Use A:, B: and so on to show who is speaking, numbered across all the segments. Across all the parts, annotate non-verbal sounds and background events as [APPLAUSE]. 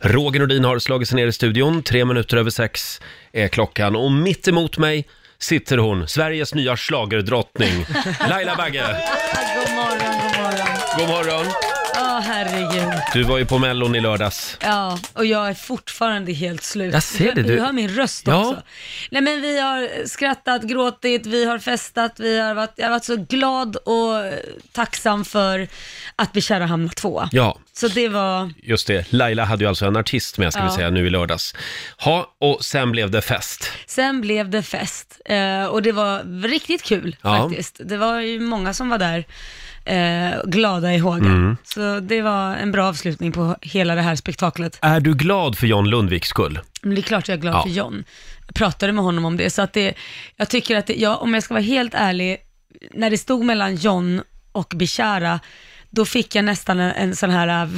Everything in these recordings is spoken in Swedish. A: Roger Nordin har slagit sig ner i studion. Tre minuter över sex är klockan och mitt emot mig sitter hon, Sveriges
B: [LAUGHS]
A: nya schlagerdrottning, Laila Bagge.
B: God morgon, god morgon.
A: God morgon.
B: Ja, herregud.
A: Du var ju på Mellon i lördags.
B: Ja, och jag är fortfarande helt slut.
A: Jag ser det,
B: Du,
A: du-
B: du hör min röst
A: Ja.
B: också. Nej men vi har skrattat, gråtit, vi har festat, vi har varit, jag har varit så glad och eh, tacksam för att vi kära hamnade tvåa.
A: Ja,
B: Så det var,
A: just det. Laila hade ju alltså en artist med, ska vi
B: Ja.
A: säga, nu i lördags. Ha, och sen blev det fest.
B: sen blev det fest eh, och det var riktigt kul
A: Ja.
B: faktiskt. Det var ju många som var där. Eh, glada i hågen.
A: Mm.
B: Så det var en bra avslutning på hela det här spektaklet.
A: Är du glad för John Lundviks skull?
B: Men det är klart jag är glad
A: Ja.
B: för John. Jag pratade med honom om det, så att det, jag tycker att, det, ja, om jag ska vara helt ärlig, när det stod mellan John och Bishara, då fick jag nästan en, en sån här, äh,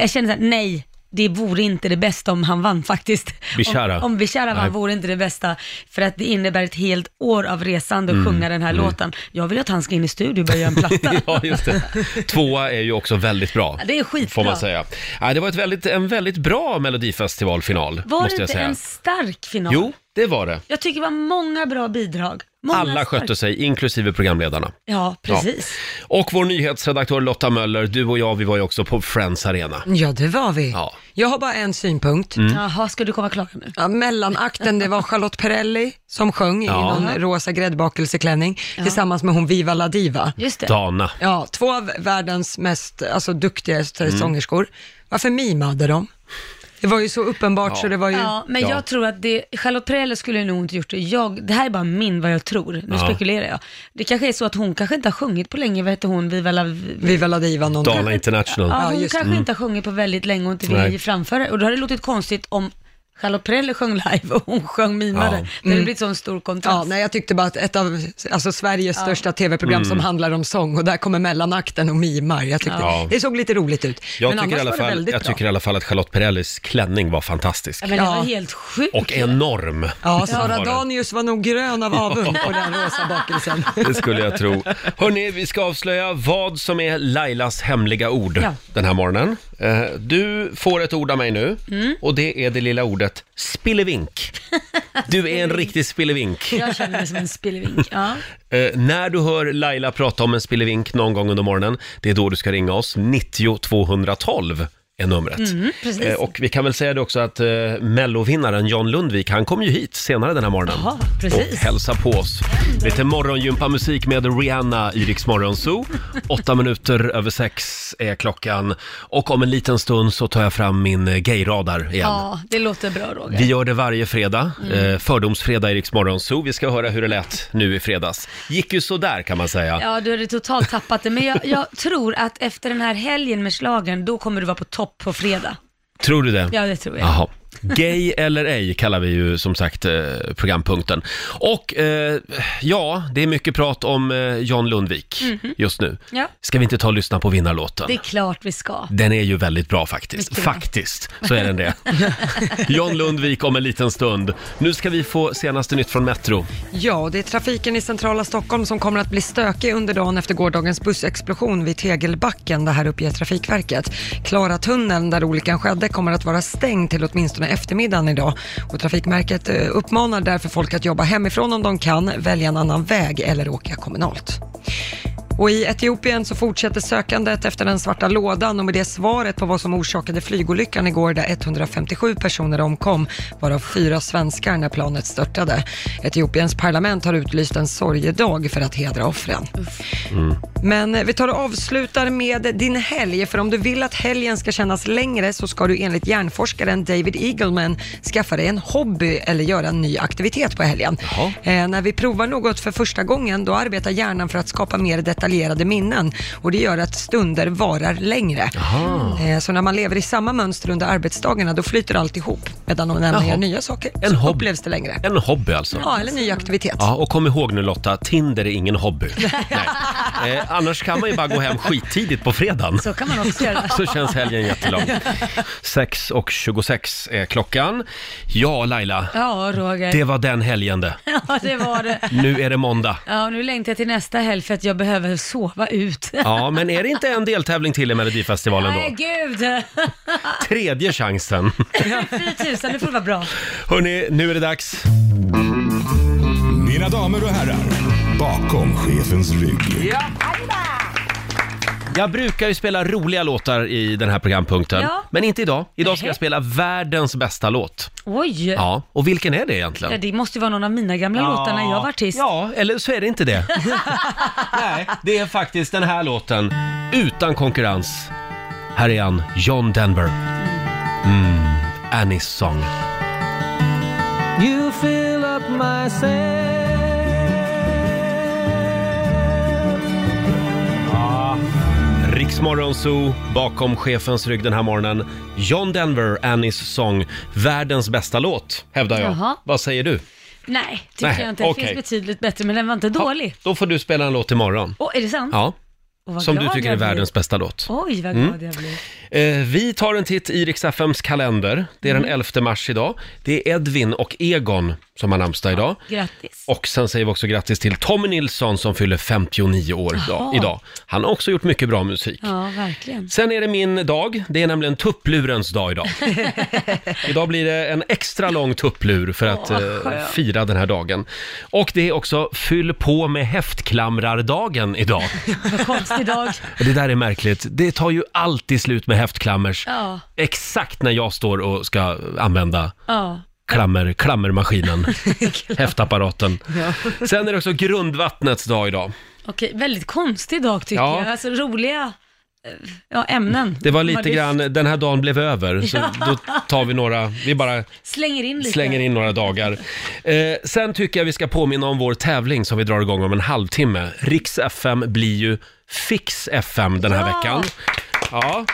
B: jag kände såhär, nej, det vore inte det bästa om han vann faktiskt.
A: Bishara.
B: Om, om Bishara
A: Nej.
B: vann vore inte det bästa, för att det innebär ett helt år av resande att sjunga den här låten. Jag vill ju att han ska in i studio och börja göra en platta.
A: Mm. [LAUGHS] ja, just det. Tvåa är ju också väldigt bra.
B: Det är skitbra.
A: Får man säga. Ja, det var ett väldigt, en väldigt bra Melodifestivalfinal,
B: Var det
A: måste jag
B: inte
A: säga.
B: en stark final?
A: Jo, det var det.
B: Jag tycker det var många bra bidrag. Många
A: Alla
B: starka-
A: skötte sig, inklusive programledarna.
B: Ja, precis.
A: Och vår nyhetsredaktör Lotta Möller, du och jag, vi var ju också på Friends Arena.
B: Mm.
C: Ja, det var vi.
A: Ja.
C: Jag har bara en synpunkt.
A: Mm.
B: Jaha, ska du komma klar nu?
C: Ja, mellanakten, det var Charlotte Perrelli som sjöng
A: Ja.
C: i någon rosa gräddbakelseklänning tillsammans med hon Viva la Diva.
B: Just det.
A: Dana.
C: Ja, två av världens mest alltså, duktigaste
A: Mm.
C: sångerskor. Varför mimade de? Det var ju så uppenbart så det var ju...
B: Ja, men
A: Ja.
B: jag tror att det, Charlotte Perrelli skulle nog inte gjort det. Jag, det här är bara min, vad jag tror. Nu
A: Ja.
B: spekulerar jag. Det kanske är så att hon kanske inte har sjungit på länge, vad heter hon, Viva la... Vi-
C: Viva la Diva någon gång.
A: Dana International. Mm.
B: Ja, hon
C: just det. Mm.
B: kanske inte har sjungit på väldigt länge och inte vill
A: Nej.
B: framföra det. Och då hade det låtit konstigt om Charlotte Perrelli sjöng live och hon sjöng mimade.
A: Ja.
B: Det hade blivit sån stor
C: Mm. Ja,
B: kontrast.
C: nej, jag tyckte bara att ett av alltså, Sveriges största tv-program som
A: Mm.
C: handlar om sång och där kommer mellanakten och mimar. Jag tyckte,
A: Ja.
C: Det såg lite roligt ut.
A: Jag,
C: men
A: tycker
C: annars
A: i, alla
C: var det
A: fall,
C: väldigt
A: jag
C: bra.
A: tycker i alla fall att Charlotte Perrellis klänning var fantastisk.
B: Ja, men det var
C: Ja.
B: helt sjukt.
A: Och enorm.
C: Ja,
A: Var det.
C: Sara Danius var nog grön av
A: [LAUGHS]
C: avund på den rosa bakelsen.
A: Det skulle jag tro. Hörni, vi ska avslöja vad som är Lailas hemliga ord
B: Ja.
A: den här morgonen. Eh, Du får ett ord av mig nu
B: Mm.
A: och det är det lilla ordet spillevink. Du är en riktig spillevink.
B: Jag känner mig som en spillevink. Ja.
A: Eh, när du hör Laila prata om en spillevink någon gång under morgonen, det är då du ska ringa oss. 90 212 är numret.
B: Mm, precis.
A: Eh, och vi kan väl säga det också att eh, mellovinnaren John Lundvik, han kom ju hit senare den här morgonen.
B: Jaha, precis.
A: Och hälsa på oss. Lite morgongympamusik med Rihanna i Rix Morgon Zoo. Åtta minuter över sex är klockan. Och om en liten stund så tar jag fram min eh, gayradar igen.
B: ja, det låter bra Roger.
A: Vi gör det varje fredag,
B: Mm.
A: eh, fördomsfredag i Rix Morgon Zoo. Vi ska höra hur det lät nu i fredags. Gick ju sådär kan man säga.
B: Ja, du hade totalt tappat det. Men jag, jag tror att efter den här helgen med slagen då kommer du vara på topp på fredag.
A: Tror du det?
B: Ja, det tror jag. [LAUGHS]
A: Jaha. Gay eller ej kallar vi ju som sagt eh, programpunkten. Och eh, ja, det är mycket prat om eh, John Lundvik just nu.
B: Mm. Mhm. Ja.
A: Ska vi inte ta och lyssna på vinnarlåten?
B: Det är klart vi ska.
A: Den är ju väldigt bra faktiskt.
B: Mycket bra.
A: Faktiskt, så är
B: [LAUGHS]
A: den det. John Lundvik om en liten stund. Nu ska vi få senaste nytt från Metro.
C: Ja, och det är trafiken i centrala Stockholm som kommer att bli stökig under dagen efter gårdagens bussexplosion vid Tegelbacken. Det här uppger Trafikverket. Klaratunneln där olyckan skedde kommer att vara stängd till åtminstone eftermiddagen idag. Och Trafikverket eh, uppmanar därför folk att jobba hemifrån om de kan, välja en annan väg eller åka kommunalt. Och i Etiopien så fortsätter sökandet efter den svarta lådan och med det svaret på vad som orsakade flygolyckan igår där 157 personer omkom, varav fyra svenskar när planet störtade. Etiopiens parlament har utlyst en sorgedag för att hedra offren.
A: Eh, mm.
C: Men vi tar och avslutar med din helg, för om du vill att helgen ska kännas längre så ska du enligt hjärnforskaren David Eagleman skaffa dig en hobby eller göra en ny aktivitet på helgen.
A: Jaha.
C: Eh, när vi provar något för första gången, då arbetar hjärnan för att skapa mer detaljerade minnen och det gör att stunder varar längre. Eh, så när man lever i samma mönster under arbetsdagarna, då flyter allt ihop. Medan om man
A: Jaha.
C: gör nya saker,
A: En
C: så
A: hobby.
C: upplevs det längre.
A: En hobby alltså.
C: Ja, eller ny aktivitet. [LAUGHS]
A: Ja, och kom ihåg nu Lotta, Tinder är ingen hobby. Nej. Eh, annars kan man ju bara gå hem skittidigt på fredagen. [LAUGHS]
B: Så kan man också göra.
A: Så känns helgen jättelång. 6 och 26 är är klockan. Ja, Laila,
B: Ja, Roger.
A: det var den helgen det.
B: Ja, det var det.
A: Nu är det måndag.
B: Ja, nu längtar jag till nästa helg för att jag behöver sova ut. [LAUGHS]
A: Ja, men är det inte en deltävling till i Melodifestivalen
B: Nej,
A: då?
B: gud! [LAUGHS]
A: Tredje chansen. [LAUGHS]
B: 4000, nu får det vara bra.
A: Hörni, nu är det dags.
D: Mina damer och herrar, bakom chefens rygg.
A: Jag brukar ju spela roliga låtar i den här programpunkten,
B: Ja.
A: men inte idag. Idag ska
B: Nej.
A: jag spela världens bästa låt.
B: Oj! Ja.
A: Ja, och vilken är det egentligen?
B: det måste ju vara någon av mina gamla låtar när jag var artist.
A: Ja, eller så är det
B: [LAUGHS]
A: inte det. Nej, det är faktiskt den här låten. Utan konkurrens. Här är han, John Denver. Mm, Annie's Song.
E: You fill up my sail.
A: Riksmorgon Zoo, bakom chefens rygg den här morgonen. John Denver, Annie's Song. Världens bästa låt, hävdar jag.
B: Jaha.
A: Vad säger du?
B: Nej, tycker
A: Nej,
B: jag inte. Det
A: okej.
B: finns betydligt bättre, men den var inte dålig.
A: Då får du spela en låt imorgon.
B: Åh, är det sant?
A: Ja,
B: Åh, Mm. vad
A: som du
B: glad
A: tycker är Mm.
B: jag blir.
A: världens bästa låt.
B: Oj, vad glad jag blir.
A: Eh, vi tar en titt i Rix FMs kalender. Det är
B: Mm.
A: den 11 mars idag. Det är Edvin och Egon som har namnsdag idag.
B: Grattis.
A: Och sen säger vi också grattis till Tommy Nilsson som fyller 59 år idag-
B: Jaha.
A: idag. Han har också gjort mycket bra musik.
B: Ja, verkligen.
A: Sen är det min dag. Det är nämligen tupplurens
B: [LAUGHS]
A: dag idag. idag blir det en extra lång tupplur för
B: Åh,
A: att
B: vad
A: eh,
B: skönt.
A: fira den här dagen. Och det är också fyll på med häftklamrardagen idag.
B: Vad konstig
A: [LAUGHS]
B: dag.
A: Och Det där är märkligt. Det tar ju alltid slut med häftklammers.
B: Ja.
A: Exakt när jag står och ska använda
B: Ja. [LAUGHS]
A: klammer, klammermaskinen, häftapparaten. Sen är det också grundvattnets dag idag.
B: Okej, väldigt konstig dag tycker
A: Ja.
B: jag. Alltså roliga eh, ja, ämnen.
A: Det var
B: Man
A: lite
B: lyft-
A: grann, den här dagen blev över, så då tar vi några, vi bara
B: Slänger in lite.
A: slänger in några dagar. Eh, sen tycker jag vi ska påminna om vår tävling som vi drar igång om en halvtimme. Riks FM blir ju Fix FM den här
B: Ja.
A: veckan. Ja.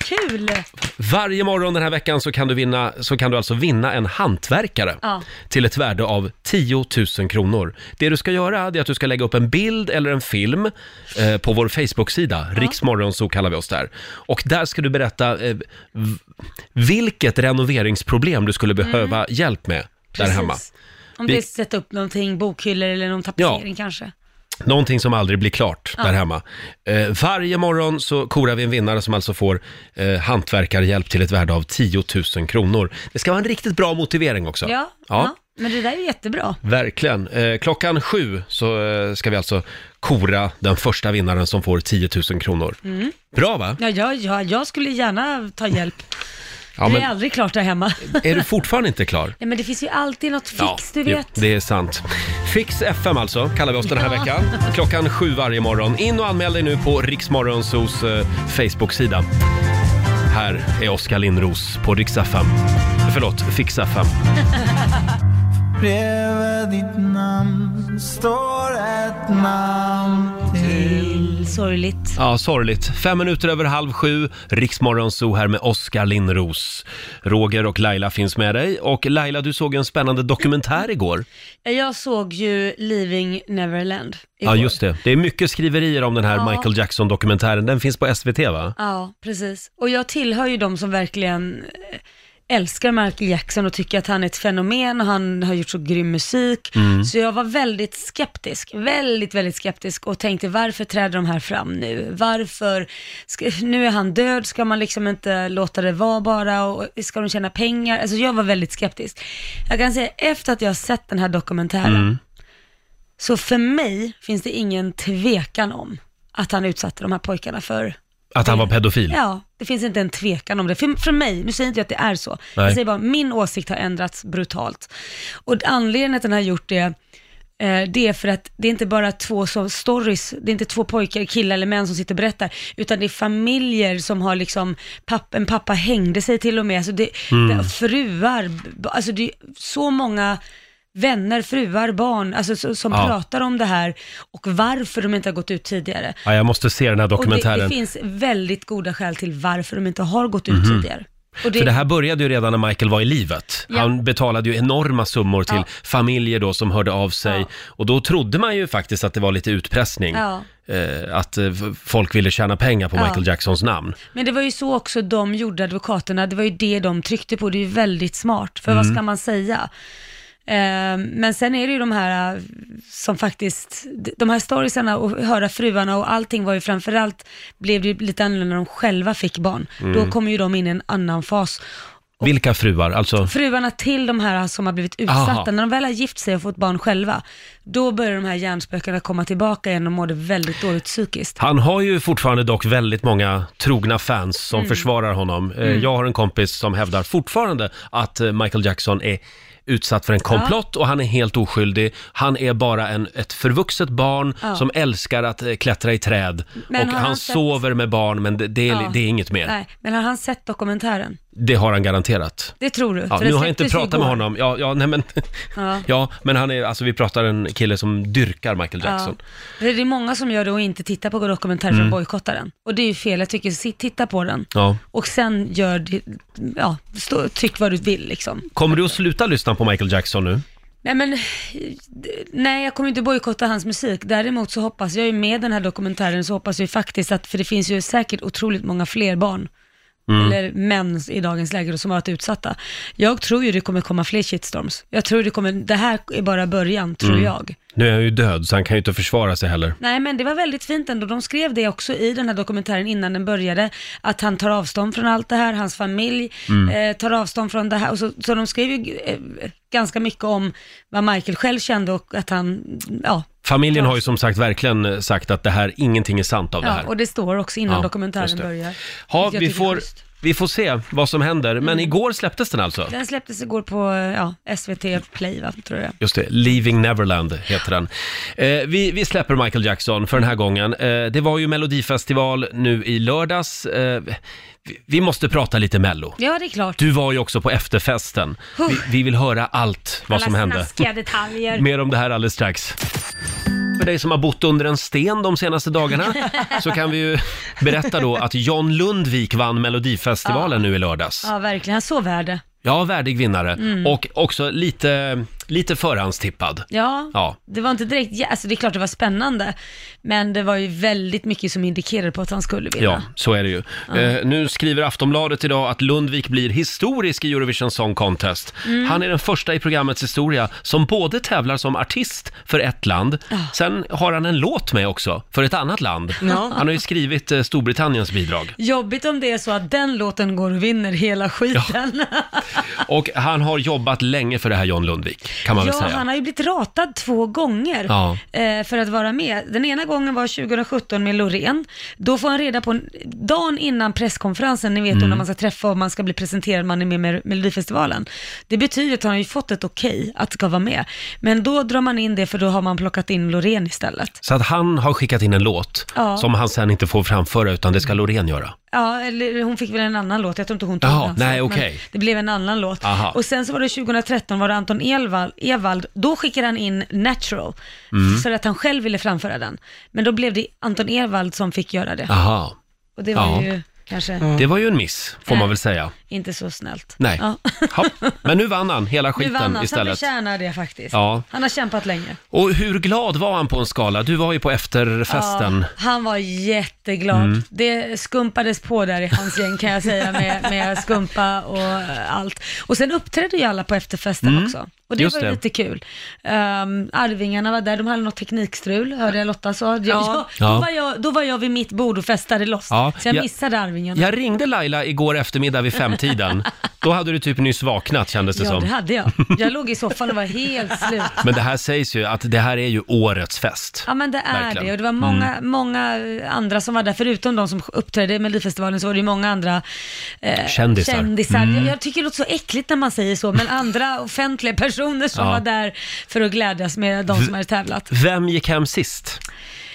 B: Kul!
A: Varje morgon den här veckan så kan du, vinna, så kan du alltså vinna en hantverkare
B: Ja.
A: till ett värde av 10 000 kronor. Det du ska göra det är att du ska lägga upp en bild eller en film eh, på vår Facebook-sida, Riksmorgon så kallar vi oss där. Och där ska du berätta eh, v- vilket renoveringsproblem du skulle behöva hjälp med där hemma.
B: Om
A: Vi-
B: det är sätta upp någonting, bokhyllor eller någon tapetsering kanske.
A: Någonting som aldrig blir klart där hemma. Eh, varje morgon så korar vi en vinnare som alltså får eh, hantverkarhjälp till ett värde av 10 000 kronor. Det ska vara en riktigt bra motivering också.
B: Ja, ja. men det där är jättebra.
A: Verkligen. Eh, klockan sju så eh, ska vi alltså kora den första vinnaren som får 10 000 kronor.
B: Mm.
A: Bra va?
B: Ja, ja, ja, jag skulle gärna ta hjälp.
A: Ja,
B: Det är
A: men
B: aldrig klart där hemma. [LAUGHS]
A: är du fortfarande inte klar?
B: Nej, men det finns ju alltid något fix, du
A: jo,
B: vet.
A: det är sant. Fix FM alltså, kallar vi oss den här veckan. Klockan sju varje morgon. In och anmäl dig nu på Riksmorgonsos eh, Facebook-sida. Här är Oskar Lindros på Rix FM. Förlåt, Fix FM.
E: [LAUGHS] Bredvid ditt namn står ett namn till.
B: Sorgligt.
A: Ja, sorgligt. Fem minuter över halv sju, Riksmorgonso här med Oskar Lindros. Roger och Laila finns med dig. Och Laila, du såg en spännande dokumentär igår.
B: Jag såg ju Leaving Neverland igår.
A: Ja, just det. Det är mycket skriverier om den här
B: Ja.
A: Michael Jackson-dokumentären. Den finns på SVT, va?
B: Ja, precis. Och jag tillhör ju de som verkligen eh, älskar Michael Jackson och tycker att han är ett fenomen och han har gjort så grym musik.
A: Mm.
F: Mm.
B: Så jag var väldigt skeptisk, väldigt, väldigt skeptisk och tänkte varför träder de här fram nu? Varför, ska, nu är han död, ska man liksom inte låta det vara bara och ska de tjäna pengar? Alltså jag var väldigt skeptisk. Jag kan säga efter att jag har sett den här dokumentären,
F: Mm.
A: Mm.
B: [LAUGHS] så för mig finns det ingen tvekan om att han utsatte de här pojkarna för
A: Att han var pedofil.
B: Ja, det finns inte en tvekan om det. För, för mig, nu säger inte jag att det är så,
A: Nej.
B: jag säger bara min åsikt har ändrats brutalt. Och anledningen att den har gjort det, eh, det är för att det är inte bara två så, stories, det är inte två pojkar, killar eller män som sitter och berättar, utan det är familjer som har liksom, papp, en pappa hängde sig till och med, alltså det,
A: Mm.
B: det, fruar, b- alltså det är så många vänner, fruar, barn, alltså så- som
A: Ja.
B: pratar om det här och varför de inte har gått ut tidigare.
A: Ja, jag måste se den här
B: Och det,
A: dokumentären.
B: det finns väldigt goda skäl till varför de inte har gått ut tidigare. Och det-
A: Mhm. För det här började ju redan när Michael var i livet.
B: Ja.
A: Han betalade ju enorma summor till
B: Ja.
A: familjer då som hörde av sig.
B: Ja.
A: Och då trodde man ju faktiskt att det var lite utpressning.
B: Ja.
A: Eh, att eh, f- folk ville tjäna pengar på
B: Ja.
A: Michael Jacksons namn.
B: Men det var ju så också de gjorde, advokaterna. Det var ju det de tryckte på. Det är ju väldigt smart, för
A: Mhm.
B: vad ska man säga? Ehm, Men sen är det ju de här eh, som faktiskt, de här storiesarna och höra fruarna och allting var ju framförallt, blev det ju lite annorlunda när de själva fick barn.
A: Mm.
B: Då kommer ju de in i en annan fas.
A: Vilka fruar? Alltså,
B: Fruarna till de här som har blivit utsatta,
A: Aha.
B: när de väl har gift sig och fått barn själva, då börjar de här hjärnspökena komma tillbaka igen och mådde väldigt dåligt psykiskt.
A: han har ju fortfarande dock väldigt många trogna fans som
B: Mm.
A: försvarar honom. Eh, Jag har en kompis som hävdar fortfarande att eh, Michael Jackson är utsatt för en komplott och han är helt oskyldig. Han är bara en, ett förvuxet barn
B: Ja.
A: som älskar att eh, klättra i träd.
B: Men
A: och
B: har
A: han,
B: han sett-
A: sover med barn men det, det, är,
B: Ja.
A: det är inget mer.
B: Nej, men har han sett dokumentären?
A: Det har han garanterat.
B: Det tror du? för
A: Ja, nu
B: det
A: har jag inte
B: släpptes ju
A: pratat
B: igår.
A: med honom. Ja, ja, nej, men, [LAUGHS] ja.
B: Ja.
A: men han är, alltså vi pratar en kille som dyrkar Michael Jackson.
B: Ja. Det är många som gör det och inte tittar på dokumentärer
A: Mm.
B: för att bojkottar den. Och det är ju fel, jag tycker sitt- titta på den.
A: Ja.
B: Och sen gör, det- ja, stå, tyck vad du vill liksom.
A: Kommer du att sluta lyssna på Michael Jackson nu?
B: Nej men, eh, nej jag kommer inte bojkotta hans musik. Däremot så hoppas jag ju med den här dokumentären så hoppas jag ju faktiskt att, för det finns ju säkert otroligt många fler barn, eller män i dagens läge då, som har varit utsatta. Jag tror ju det kommer komma fler shitstorms. Jag tror det kommer, det här är bara början, tror
A: Mm.
B: jag.
A: Nu är han ju död så han kan ju inte försvara sig heller.
B: Nej men det var väldigt fint ändå. De skrev det också i den här dokumentären innan den började, att han tar avstånd från allt det här, hans familj
A: Mm.
B: eh, tar avstånd från det här. Och så, så de skrev ju eh, ganska mycket om vad Michael själv kände och att han, ja,
A: Familjen har ju som sagt verkligen eh, sagt att det här, ingenting är sant av det
B: ja
A: här.
B: och det står också innan
A: Ja, just
B: dokumentären
A: det.
B: börjar.
A: Ja,
B: Vilket jag
A: vi
B: tycker är
A: får,
B: schysst. Mm.
A: vi får se vad som händer. Men igår släpptes den alltså?
B: Den släpptes igår på eh, ja, SVT Play, va, tror jag.
A: Just det, Leaving Neverland heter den. Eh, vi, vi släpper Michael Jackson för den här gången. Eh, det var ju Melodifestival nu i lördags. Eh, vi, vi måste prata lite Mello.
B: Ja, det är klart.
A: Du var ju också på efterfesten. Vi, vi vill höra allt vad
B: Alla
A: som hände.
B: snaskiga
A: [LAUGHS]
B: detaljer.
A: Mer om det här alldeles strax. För dig som har bott under en sten de senaste dagarna så kan vi ju berätta då att John Lundvik vann Melodifestivalen nu i lördags.
B: Ja, verkligen. Han så värd det.
A: Ja, värdig vinnare och också lite, lite förhandstippad.
B: Mm. Ja,
A: Ja.
B: det var inte direkt, ja, alltså det är klart det var spännande, men det var ju väldigt mycket som indikerade på att han skulle vinna.
A: Ja, så är det ju. Eh, nu skriver Aftonbladet idag att Lundvik blir historisk i Eurovision Song Contest.
B: Mm.
A: Han är den första i programmets historia som både tävlar som artist för ett land,
B: Ah.
A: sen har han en låt med också, för ett annat land. Han har ju skrivit eh,
B: [LAUGHS]
A: Storbritanniens bidrag.
B: Jobbigt om det är så att den låten går och vinner hela skiten.
A: Och han har jobbat länge för det här John Lundvik, kan
B: [LAUGHS]
A: man
B: Ja,
A: väl säga.
B: han har ju blivit ratad två gånger
A: Ja.
B: eh, för att vara med. Den ena gången var 2017 med Loreen. Då får han reda på, dagen innan presskonferensen, ni vet
A: Mm.
B: då när man ska träffa och man ska bli presenterad, man är med med Melodifestivalen. Det betyder att han har ju fått ett okej att ska vara med. Men då drar man in det för då har man plockat in Loreen istället.
A: Så att han har skickat in en låt
B: Ja. Mm.
A: som han sen inte får framföra, utan det ska Loreen göra.
B: Ja, eller hon fick väl en annan låt. Jag tror inte hon tog
A: Jaha,
B: den.
A: nej,
B: Men
A: okej.
B: Det blev en annan låt.
A: Aha.
B: Och sen så var det 2013, var det Anton Elvald, Evald. Då skickade han in Natural,
A: Mm.
B: för att han själv ville framföra den. Men då blev det Anton Elvald som fick göra det.
A: Aha.
B: Och det var
A: Ja.
B: ju kanske
A: Det var ju en miss, får man väl säga.
B: inte så snällt.
A: Nej. [LAUGHS]
B: Ja.
A: Ja. Men nu vann han hela
B: Nu
A: skiten
B: vann han, så han
A: istället.
B: förtjänar det faktiskt.
A: Ja.
B: Han har kämpat länge.
A: Och hur glad var han på en skala? Du var ju på efterfesten.
B: Ja, han var jätteglad.
A: Mm.
B: Det skumpades på där i hans gäng kan jag säga med, med skumpa och eh, allt. Och sen uppträdde ju alla på efterfesten också. Och det
A: Mm. Just
B: var ju
A: det.
B: lite kul. Ehm, Arvingarna var där, de hade något teknikstrul, hörde jag Lotta sa. Jag, jag,
A: Ja.
B: då, var jag, då var jag vid mitt bord och festade loss,
A: Ja,
B: så jag,
A: jag-
B: missade Arvingarna.
A: Jag ringde Laila igår eftermiddag
B: [LAUGHS]
A: vid femtiden. Då hade du typ nyss vaknat kändes det
B: ja, det
A: som.
B: hade jag. Jag låg i soffan och var
A: [LAUGHS]
B: helt slut.
A: Men det här sägs ju att det här är ju årets fest.
B: Ja men det är
A: Verkligen. Mm.
B: det och det var många, många eh, andra som var där, förutom de som uppträdde i Melodifestivalen så var det ju många andra eh,
A: Kändisar. Mm.
B: kändisar. Jag, jag tycker det låter så äckligt när man säger så, men
A: [LAUGHS]
B: andra offentliga personer som
A: Ja.
B: var där för att glädjas med de som hade tävlat.
A: Vem gick hem sist?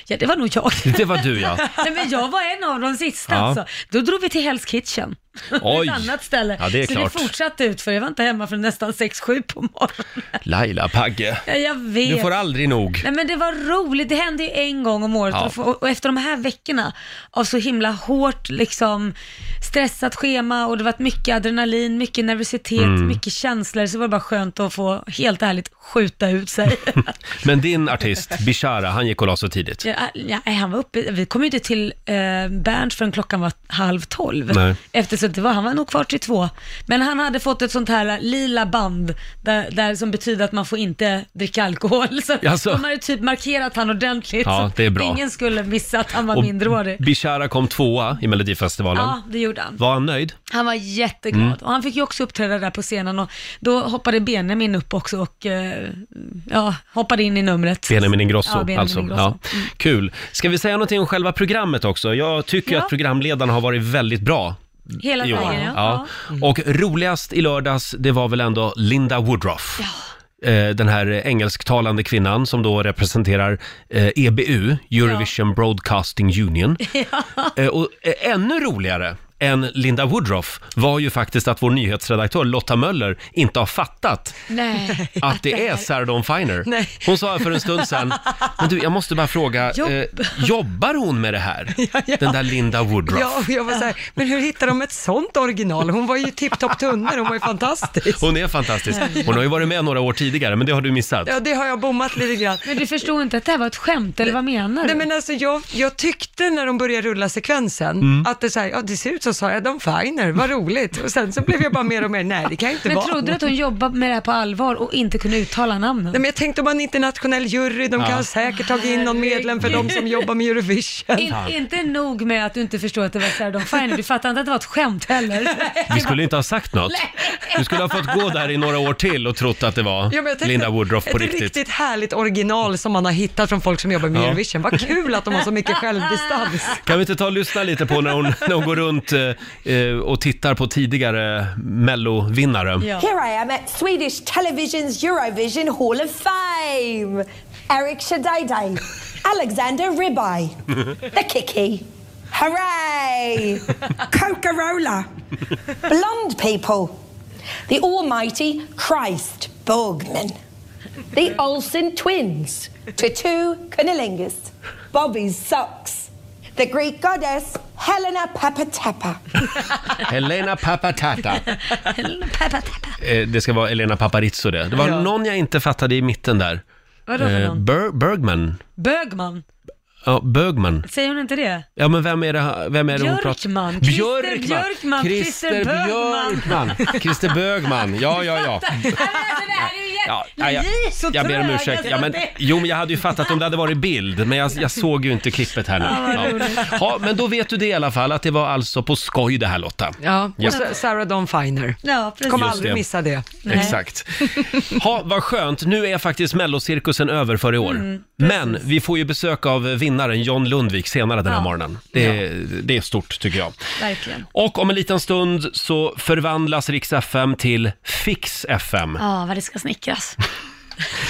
B: Ja det var nog jag. [LAUGHS]
A: [LAUGHS] Det var du ja.
B: Nej men jag var en av de sista
A: Ja.
B: alltså. Då drog vi till Hell's Kitchen. [LAUGHS]
A: Oj.
B: ett annat ställe.
A: Ja, det är
B: så
A: klart.
B: det fortsatte ut för jag var inte hemma förrän nästan 6-7 på morgonen.
A: Laila
B: [LAUGHS]
A: Pagge,
B: Ja, jag vet.
A: du får aldrig nog.
B: Nej men det var roligt, det hände ju en gång om året
A: Ja.
B: och, få- och efter de här veckorna av så himla hårt liksom stressat schema och det var mycket adrenalin, mycket nervositet,
A: Mm.
B: mycket känslor så var det bara skönt att få helt ärligt skjuta ut sig.
A: Men din artist, Bishara, han gick och la sig tidigt.
B: ja, äh, ja, han var uppe, vi kom ju inte till eh, Berns förrän klockan var halv tolv.
A: Nej.
B: Eftersom det var, han var nog kvar till två. Men han hade fått ett sånt här lila band där, där som betyder att man får inte dricka alkohol. Så
A: Jaså?
B: de hade typ markerat han ordentligt.
A: Ja, det är bra.
B: Ingen skulle missa att han var
A: Och
B: minderårig.
A: Bishara kom tvåa i Melodifestivalen.
B: Ja, det gjorde han.
A: Var han nöjd?
B: Han var jätteglad
A: Mm.
B: och han fick ju också uppträda där på scenen och då hoppade Benjamin upp också och eh, ja, hoppade in i numret.
A: Benjamin Ingrosso,
B: Ja, Benjamin
A: alltså.
B: Ingrosso. Mm.
A: Ja. Kul. Ska vi säga någonting om själva programmet också? Jag tycker
B: Ja.
A: att programledaren har varit väldigt bra.
B: Hela
A: i år.
B: vägen, ja. ja.
A: Och roligast i lördags, det var väl ändå Linda Woodruff. Eh, Den här engelsktalande kvinnan som då representerar eh, EBU, Eurovision
B: [LAUGHS]
A: Broadcasting Union. Eh, Och eh, ännu roligare än Linda Woodruff var ju faktiskt att vår nyhetsredaktör Lotta Möller inte har fattat
C: [LAUGHS]
B: Nej.
A: att det är Sarah Dawn Finer. Hon sa för en
C: [LAUGHS]
A: stund sedan, men du jag måste bara fråga,
B: Jobb-
A: eh, [LAUGHS] jobbar hon med
C: [LAUGHS]
A: det här? Den där Linda Woodruff.
C: Ja, och jag var så här, men hur hittar de ett sånt original? Hon var ju tipptopp tunnor, hon var ju fantastisk.
A: [LAUGHS] Hon är fantastisk. Hon har ju varit med några år tidigare, men det har du missat.
C: Ja, det har jag bommat lite grann.
B: Men du förstod inte att det här var ett skämt, eller vad menar du?
C: Nej men alltså jag, jag tyckte när de började rulla sekvensen
A: Mm.
C: att det, så här, ja, det ser ut som Sara Dawn Finer, vad roligt. Och sen så blev jag bara mer och mer, nej det kan ju inte
B: Men
C: vara
B: trodde du
C: hon.
B: att hon jobbade med det här på allvar och inte kunde uttala namnen?
C: Nej, men jag tänkte om en internationell jury, de kan säkert tagit in någon medlem för de som jobbar med Eurovision.
B: In, inte nog med att du inte förstod att det var Sarah Dawn Finer, du fattade inte att det var ett skämt heller.
A: [LAUGHS] Vi skulle inte ha sagt något. Du skulle ha fått gå där i några år till och trott att det var
C: Ja, men jag tänkte,
A: Linda Woodruff på
C: ett
A: riktigt.
C: riktigt härligt original som man har hittat från folk som jobbar med
A: Ja.
C: Eurovision. Vad kul att de har så
B: [LAUGHS]
C: mycket självdistans.
A: Kan vi inte ta och lyssna lite på när hon, när hon går runt eh, eh, och tittar på tidigare Mello-vinnare?
B: Ja.
G: Here I am at Swedish Television's Eurovision Hall of Fame. Eric Shadidai, Alexander Ribeye, the Kiki, hooray, Coca-Cola, blonde people, the almighty Christ Borgman, the Olsen twins, Tattoo Cunnilingus, Bobby's socks, the Greek goddess Helena Papatapa.
B: [LAUGHS]
A: Helena Papatata.
B: Pappa, pappa.
A: Eh, det ska vara Elena Paparizou det. Det var någon jag inte fattade i mitten där. Eh,
B: Vadå för någon?
A: Ber- Bergman?
B: Bögman?
A: Ja, Bögman.
B: Säger hon inte det?
A: Ja, men vem är det, vem är det hon pratar
B: Björkman. Christer Björkman.
A: Christer
B: Christer
A: Björkman! Christer Bögman, ja, ja, ja.
B: Nej, men alltså, [LAUGHS] det här är ju jätte-
A: Ja, nej, jag,
B: Ni är så
A: jag ber om
B: tröga
A: ursäkt.
B: så
A: Ja, men,
B: att det-
A: jo, men jag hade ju fattat om det hade varit bild, men jag, jag såg ju inte klippet här nu. Ja. Ja, men då vet du det i alla fall, att det var alltså på skoj det här Lotta.
C: Ja,
A: Ja.
C: och så Sarah Dawn Finer.
B: Ja, precis.
C: Kommer
A: Just
C: aldrig
A: det.
C: missa det.
B: Nej.
A: Exakt. Ha, vad skönt, nu är faktiskt mellocirkusen över för i år.
B: Mm,
A: men vi får ju besök av vinnaren John Lundvik senare den här
B: Ja.
A: morgonen. Det, är- det är stort tycker jag.
B: Verkligen.
A: Och om en liten stund så förvandlas Rix FM till Fix FM.
B: Ja, ah, vad det ska snickras.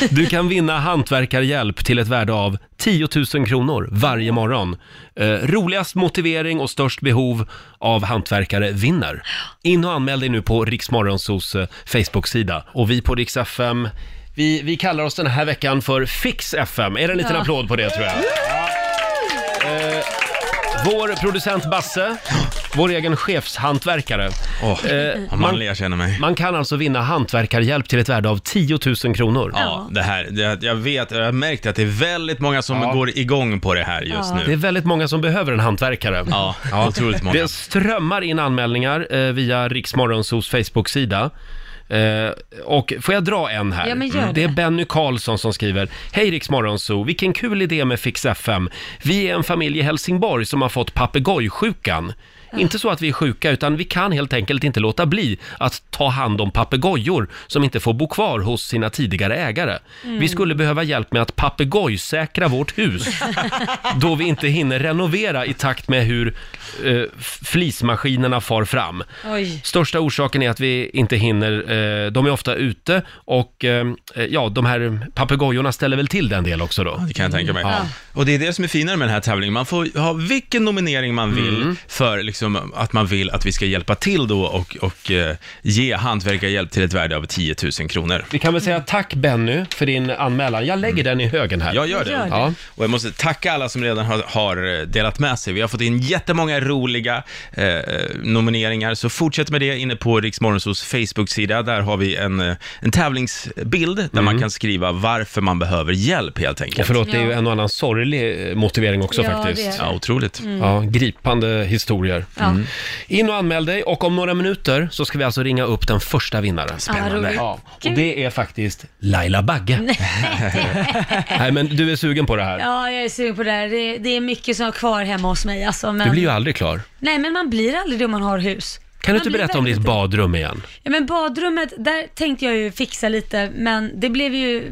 A: Du kan vinna hantverkarhjälp till ett värde av 10 000 kronor varje morgon. Eh, roligast motivering och störst behov av hantverkare vinner. In och anmäl dig nu på Riksmorgonsos eh, Facebook-sida. Och vi på Rix FM, vi, vi kallar oss den här veckan för Fix FM. Är det en liten applåd på det tror jag? Eh, Vår producent Basse, vår e- egen chefshantverkare.
H: Åh,
A: Eh,
H: vad manlig jag känner mig.
A: Man kan alltså vinna hantverkarhjälp till ett värde av 10 000 kronor.
H: Ja, det här, det, jag vet, jag har märkt att det är väldigt många som går igång på det här just
A: Det är
H: nu.
A: väldigt många som behöver en hantverkare.
H: Ja, otroligt många.
A: Det strömmar in anmälningar eh, via Riksmorgonsos Facebook-sida. Eh, och får jag dra en här?
B: Ja, men gör
A: Det är
B: det.
A: Benny Karlsson som skriver. Hej Riksmorgonso, vilken kul idé med Fix FM. Vi är en familj i Helsingborg som har fått papegojsjukan. Inte så att vi är sjuka, utan vi kan helt enkelt inte låta bli att ta hand om papegojor som inte får bo kvar hos sina tidigare ägare.
B: Mm.
A: Vi skulle behöva hjälp med att papegojsäkra vårt hus då vi inte hinner renovera i takt med hur eh, f- flismaskinerna far fram.
B: Oj.
A: Största orsaken är att vi inte hinner, eh, de är ofta ute och eh, ja, de här papegojorna ställer väl till den del också då.
H: Det kan jag
A: Mm.
H: tänka mig. Och det är det som är finare med den här tävlingen. Man får ha vilken nominering man vill för liksom att man vill att vi ska hjälpa till då och, och eh, ge hantverkarhjälp till ett värde av 10 000 kronor. Mm.
A: Vi kan väl säga tack Benny för din anmälan. Jag lägger den i högen här.
H: Jag gör det.
B: Gör det.
A: Ja.
H: Och jag måste tacka alla som redan har, har eh, delat med sig. Vi har fått in jättemånga roliga eh, nomineringar, så fortsätt med det inne på Riksmorgonsos Facebook-sida. Där har vi en, eh, en tävlingsbild där man kan skriva varför man behöver hjälp helt
A: Mm. Och
H: enkelt.
A: förlåt, det är ju
B: Ja.
A: en och annan sorglig eh, motivering också
B: Ja,
A: faktiskt.
B: det är det. Mm.
H: Ja, otroligt.
A: Ja, gripande historier.
B: Ja.
A: Mm. In och anmäl dig och om några minuter så ska vi alltså ringa upp den första vinnaren.
B: Ja, Ah, roligt.
A: Ja, och det är faktiskt Laila Bagge. [LAUGHS] Nej. men du är sugen på det här.
B: Ja, jag är sugen på det här. Det, det är mycket som är kvar hemma hos mig alltså, men...
A: Du blir ju aldrig klar.
B: Nej, men man blir aldrig det om man har hus.
A: Kan du
B: Man
A: inte
B: blir
A: berätta om
B: väldigt-
A: ditt badrum igen?
B: Ja men badrummet, där tänkte jag ju fixa lite, men det blev ju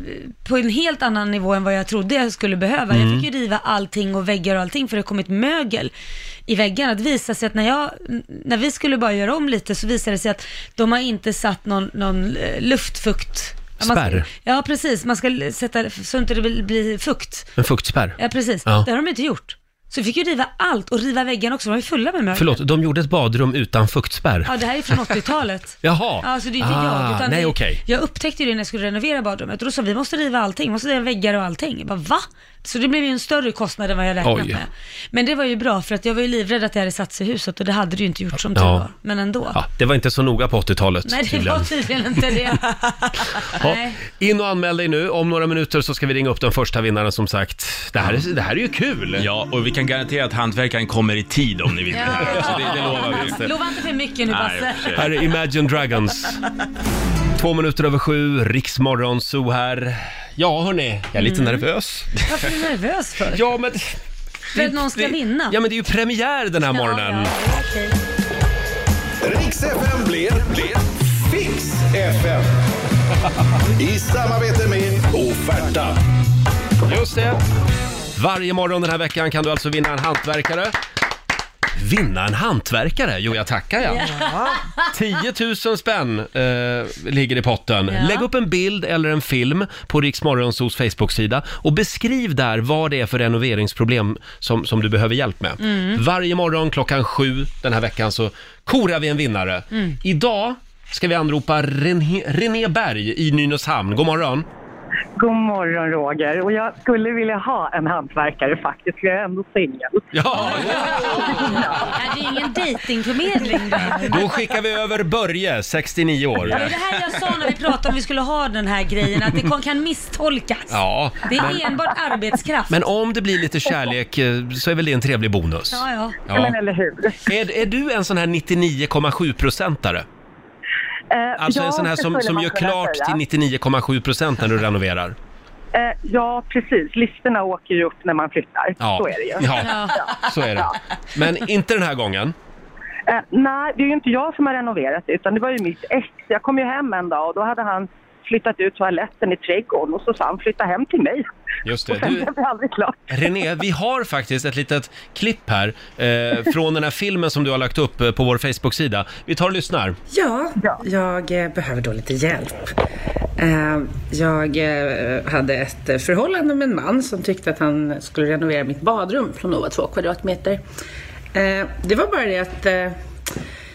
B: på en helt annan nivå än vad jag trodde jag skulle behöva. Jag fick
A: Mm.
B: ju riva allting och väggar och allting för det kom ett mögel i väggarna. Det visade sig att när, jag, när vi skulle bara göra om lite så visade det sig att de har inte satt någon, någon eh, luftfukt... Ja, man-
A: Spärr.
B: Ja precis, man ska sätta så inte det blir- blir fukt.
A: En fuktspärr?
B: Ja precis,
A: Ja.
B: det har de inte gjort. Så vi fick ju riva allt och riva väggarna också, de var ju fulla med mögel.
A: Förlåt, de gjorde ett badrum utan fuktspärr?
B: Ja det här är från 80-talet.
A: Jaha! Ah,
B: Ja, Alltså det är inte
H: Ah,
B: jag, utan
A: nej
B: det,
A: okej.
B: jag upptäckte ju det när jag skulle renovera badrummet och då sa vi måste riva allting, måste riva väggar och allting. Jag bara va? Så det blev ju en större kostnad än vad jag räknat
A: Oj.
B: med. Men det var ju bra för att jag var ju livrädd att det hade satt sig i huset och det hade det ju inte gjort som tur
A: Ja.
B: var. Men ändå.
A: Ja, det var inte så noga på 80-talet
B: Nej det
A: tydligen.
B: var tydligen inte
H: [LAUGHS]
B: det.
A: Ja,
B: Nej.
A: in och anmäl dig nu. Om några minuter så ska vi ringa upp den första vinnaren som sagt. Det här är, det här är ju kul!
H: Ja, och vi kan garantera att hantverkaren kommer i tid om ni vill det här. Så det, det lovar vi.
B: Lova inte för mycket nu
H: Nej, i
B: Basse.
H: och för sig.
A: Här är Imagine Dragons. Två minuter över sju, Riksmorgon, så här. [LAUGHS] Ja, hörni, jag är lite nervös.
B: Mm. Varför är du nervös för?
A: Ja, men...
B: För att någon ska vinna?
A: Ja, men det är ju premiär den här morgonen.
B: Ja, ja, okej.
I: Riks FM blir, blir Fix FM. [LAUGHS] I samarbete med Offerta.
A: Just det. Varje morgon den här veckan kan du alltså vinna en hantverkare. Vinna en hantverkare? Jo, jag tackar jag. 10 000 spänn eh, ligger i potten.
B: Ja.
A: Lägg upp en bild eller en film på Rix Morgonzos Facebook-sida och beskriv där vad det är för renoveringsproblem som, som du behöver hjälp med.
B: Mm.
A: Varje morgon klockan sju den här veckan så korar vi en vinnare.
B: Mm.
A: Idag ska vi anropa René, René Berg i Nynäshamn. God morgon!
J: God morgon Roger. Och jag skulle vilja ha en hantverkare faktiskt, för jag är ändå singel.
A: Ja,
B: Ja, Det är ingen dejtingförmedling det här.
A: Då skickar vi över Börje, 69 år.
B: Det var det här jag sa när vi pratade om vi skulle ha den här grejen, att det kon- kan misstolkas.
A: Ja,
B: Det är enbart arbetskraft.
A: men om det blir lite kärlek eh, så är väl det en trevlig bonus?
B: ja, ja.
J: Men
A: Ja.
J: eller hur?
A: Är, är du en sån här 99,7-procentare?
J: Eh,
A: Alltså
J: ja,
A: en sån här
J: det
A: som,
J: skulle
A: som
J: man
A: gör
J: kunna
A: klart
J: säga.
A: till 99,7
J: [LAUGHS]
A: procent när du renoverar?
J: Eh, ja, precis. Listerna åker ju upp när man flyttar. Så är det ju.
A: Ja, så är det. Men inte den här gången.
J: Eh, nej, det är ju inte jag som har renoverat det, utan det var ju mitt ex. Jag kom ju hem en dag och då hade han flyttat ut toaletten i trädgården och så sa han flytta hem till mig.
A: Just
J: Och
A: det.
J: sen
A: Du,
J: blev det aldrig klart.
A: René, vi har faktiskt ett litet klipp här eh, från den här filmen som du har lagt upp eh, på vår Facebook-sida. Vi tar och lyssnar.
K: Ja, jag eh, behöver då lite hjälp. Eh, Jag eh, hade ett eh, förhållande med en man som tyckte att han skulle renovera mitt badrum från nog var två kvadratmeter. Eh, Det var bara det att, eh,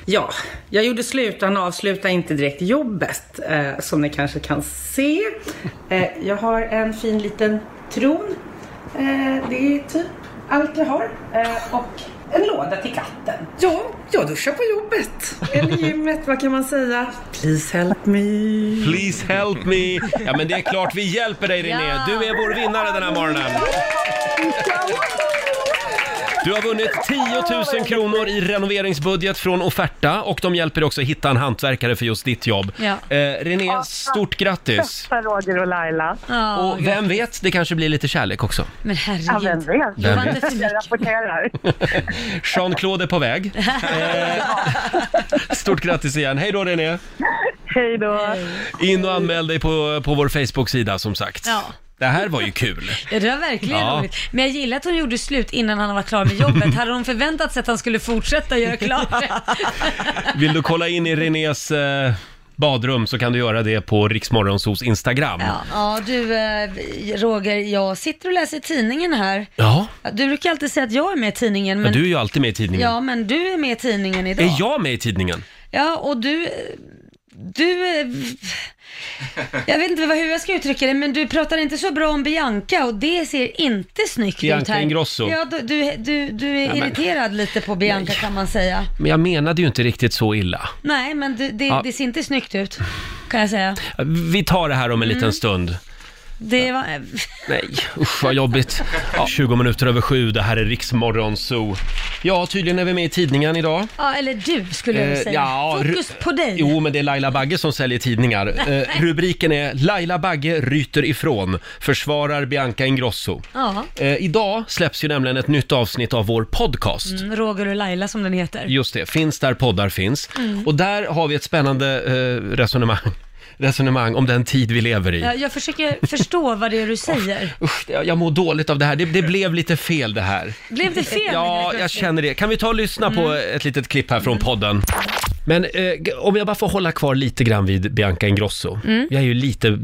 K: ja, jag gjorde slut och han avslutade inte direkt jobbet eh, som ni kanske kan se. Eh, Jag har en fin liten tron. Eh, Det är typ allt jag har. Eh, Och en låda till katten. Ja, jag duschar på jobbet. Eller gymmet, vad kan man säga? Please help me.
A: Please help me! Ja, men det är klart vi hjälper dig René.
B: Ja.
A: Du är vår vinnare den här morgonen. Du har vunnit 10 000 kronor i renoveringsbudget från Offerta och de hjälper dig också att hitta en hantverkare för just ditt jobb.
B: Ja.
A: Eh, René, stort grattis!
J: Bästa Roger och Laila.
B: Ja,
A: Och vem vet, det kanske blir lite kärlek också.
B: men
J: Ja, vem
B: herregud.
J: vet?
B: Det var inte för
J: Jag
B: mycket. [LAUGHS]
J: rapporterar.
A: Jean-Claude är på väg. Eh, Stort grattis igen. Hej då René!
J: Hej då.
A: In och anmäl dig på, på vår Facebook-sida som sagt.
B: Ja.
A: Det här var ju kul.
B: Ja, det var verkligen
A: Ja.
B: roligt. Men jag gillar att hon gjorde slut innan han var klar med jobbet. Hade hon förväntat sig att han skulle fortsätta göra klart det?
A: Vill du kolla in i Renés eh, badrum så kan du göra det på Riksmorgonsos Instagram.
B: Ja, [LAUGHS] ja du eh, Roger, jag sitter och läser tidningen här.
A: Ja,
B: Du brukar alltid säga att jag är med i tidningen.
A: ja
B: Men,
A: du är ju alltid med i tidningen.
B: Ja, men du är med i tidningen idag.
A: Är jag med i tidningen?
B: Ja, och du... Du... eh, Jag vet inte vad- hur jag ska uttrycka det, men du pratar inte så bra om Bianca och det ser inte snyggt ut
A: Bianca
B: här.
A: Ingrosso.
B: Ja, du, du, du, du är
A: Ja, men-
B: irriterad lite på Bianca kan man säga.
A: Men jag menade ju inte riktigt så illa.
B: Nej, men du, det,
A: Ja.
B: det ser inte snyggt ut, kan jag säga.
A: Vi tar det här om en
B: Mm.
A: liten stund.
B: Det var...
A: Nej, usch vad jobbigt. Ja. 20 minuter över sju, det här är Riksmorgon Zoo. Ja, tydligen är vi med i tidningen idag.
B: Ja, eller du skulle jag
A: Eh,
B: vilja säga.
A: ja, ru-
B: Fokus på dig.
A: Jo, men det är Laila Bagge som säljer tidningar.
B: [LAUGHS]
A: Eh, rubriken är “Laila Bagge ryter ifrån, försvarar Bianca Ingrosso”.
B: Ja.
A: Eh, idag släpps ju nämligen ett nytt avsnitt av vår podcast.
B: Mm, Roger och Laila som den heter.
A: Just det, finns där poddar finns.
B: Mm.
A: Och där har vi ett spännande eh, resonemang, [LAUGHS] resonemang om den tid vi lever i.
B: Ja, jag försöker förstå vad det är du säger.
A: Usch, jag jag mår dåligt av det här. Det, det blev lite fel det här.
B: Blev det Mm. fel?
A: Ja, jag känner det. Kan vi ta och lyssna på ett litet klipp här från podden? Men eh, g- om jag bara får hålla kvar lite grann vid Bianca Ingrosso.
B: Mm.
A: Jag är ju lite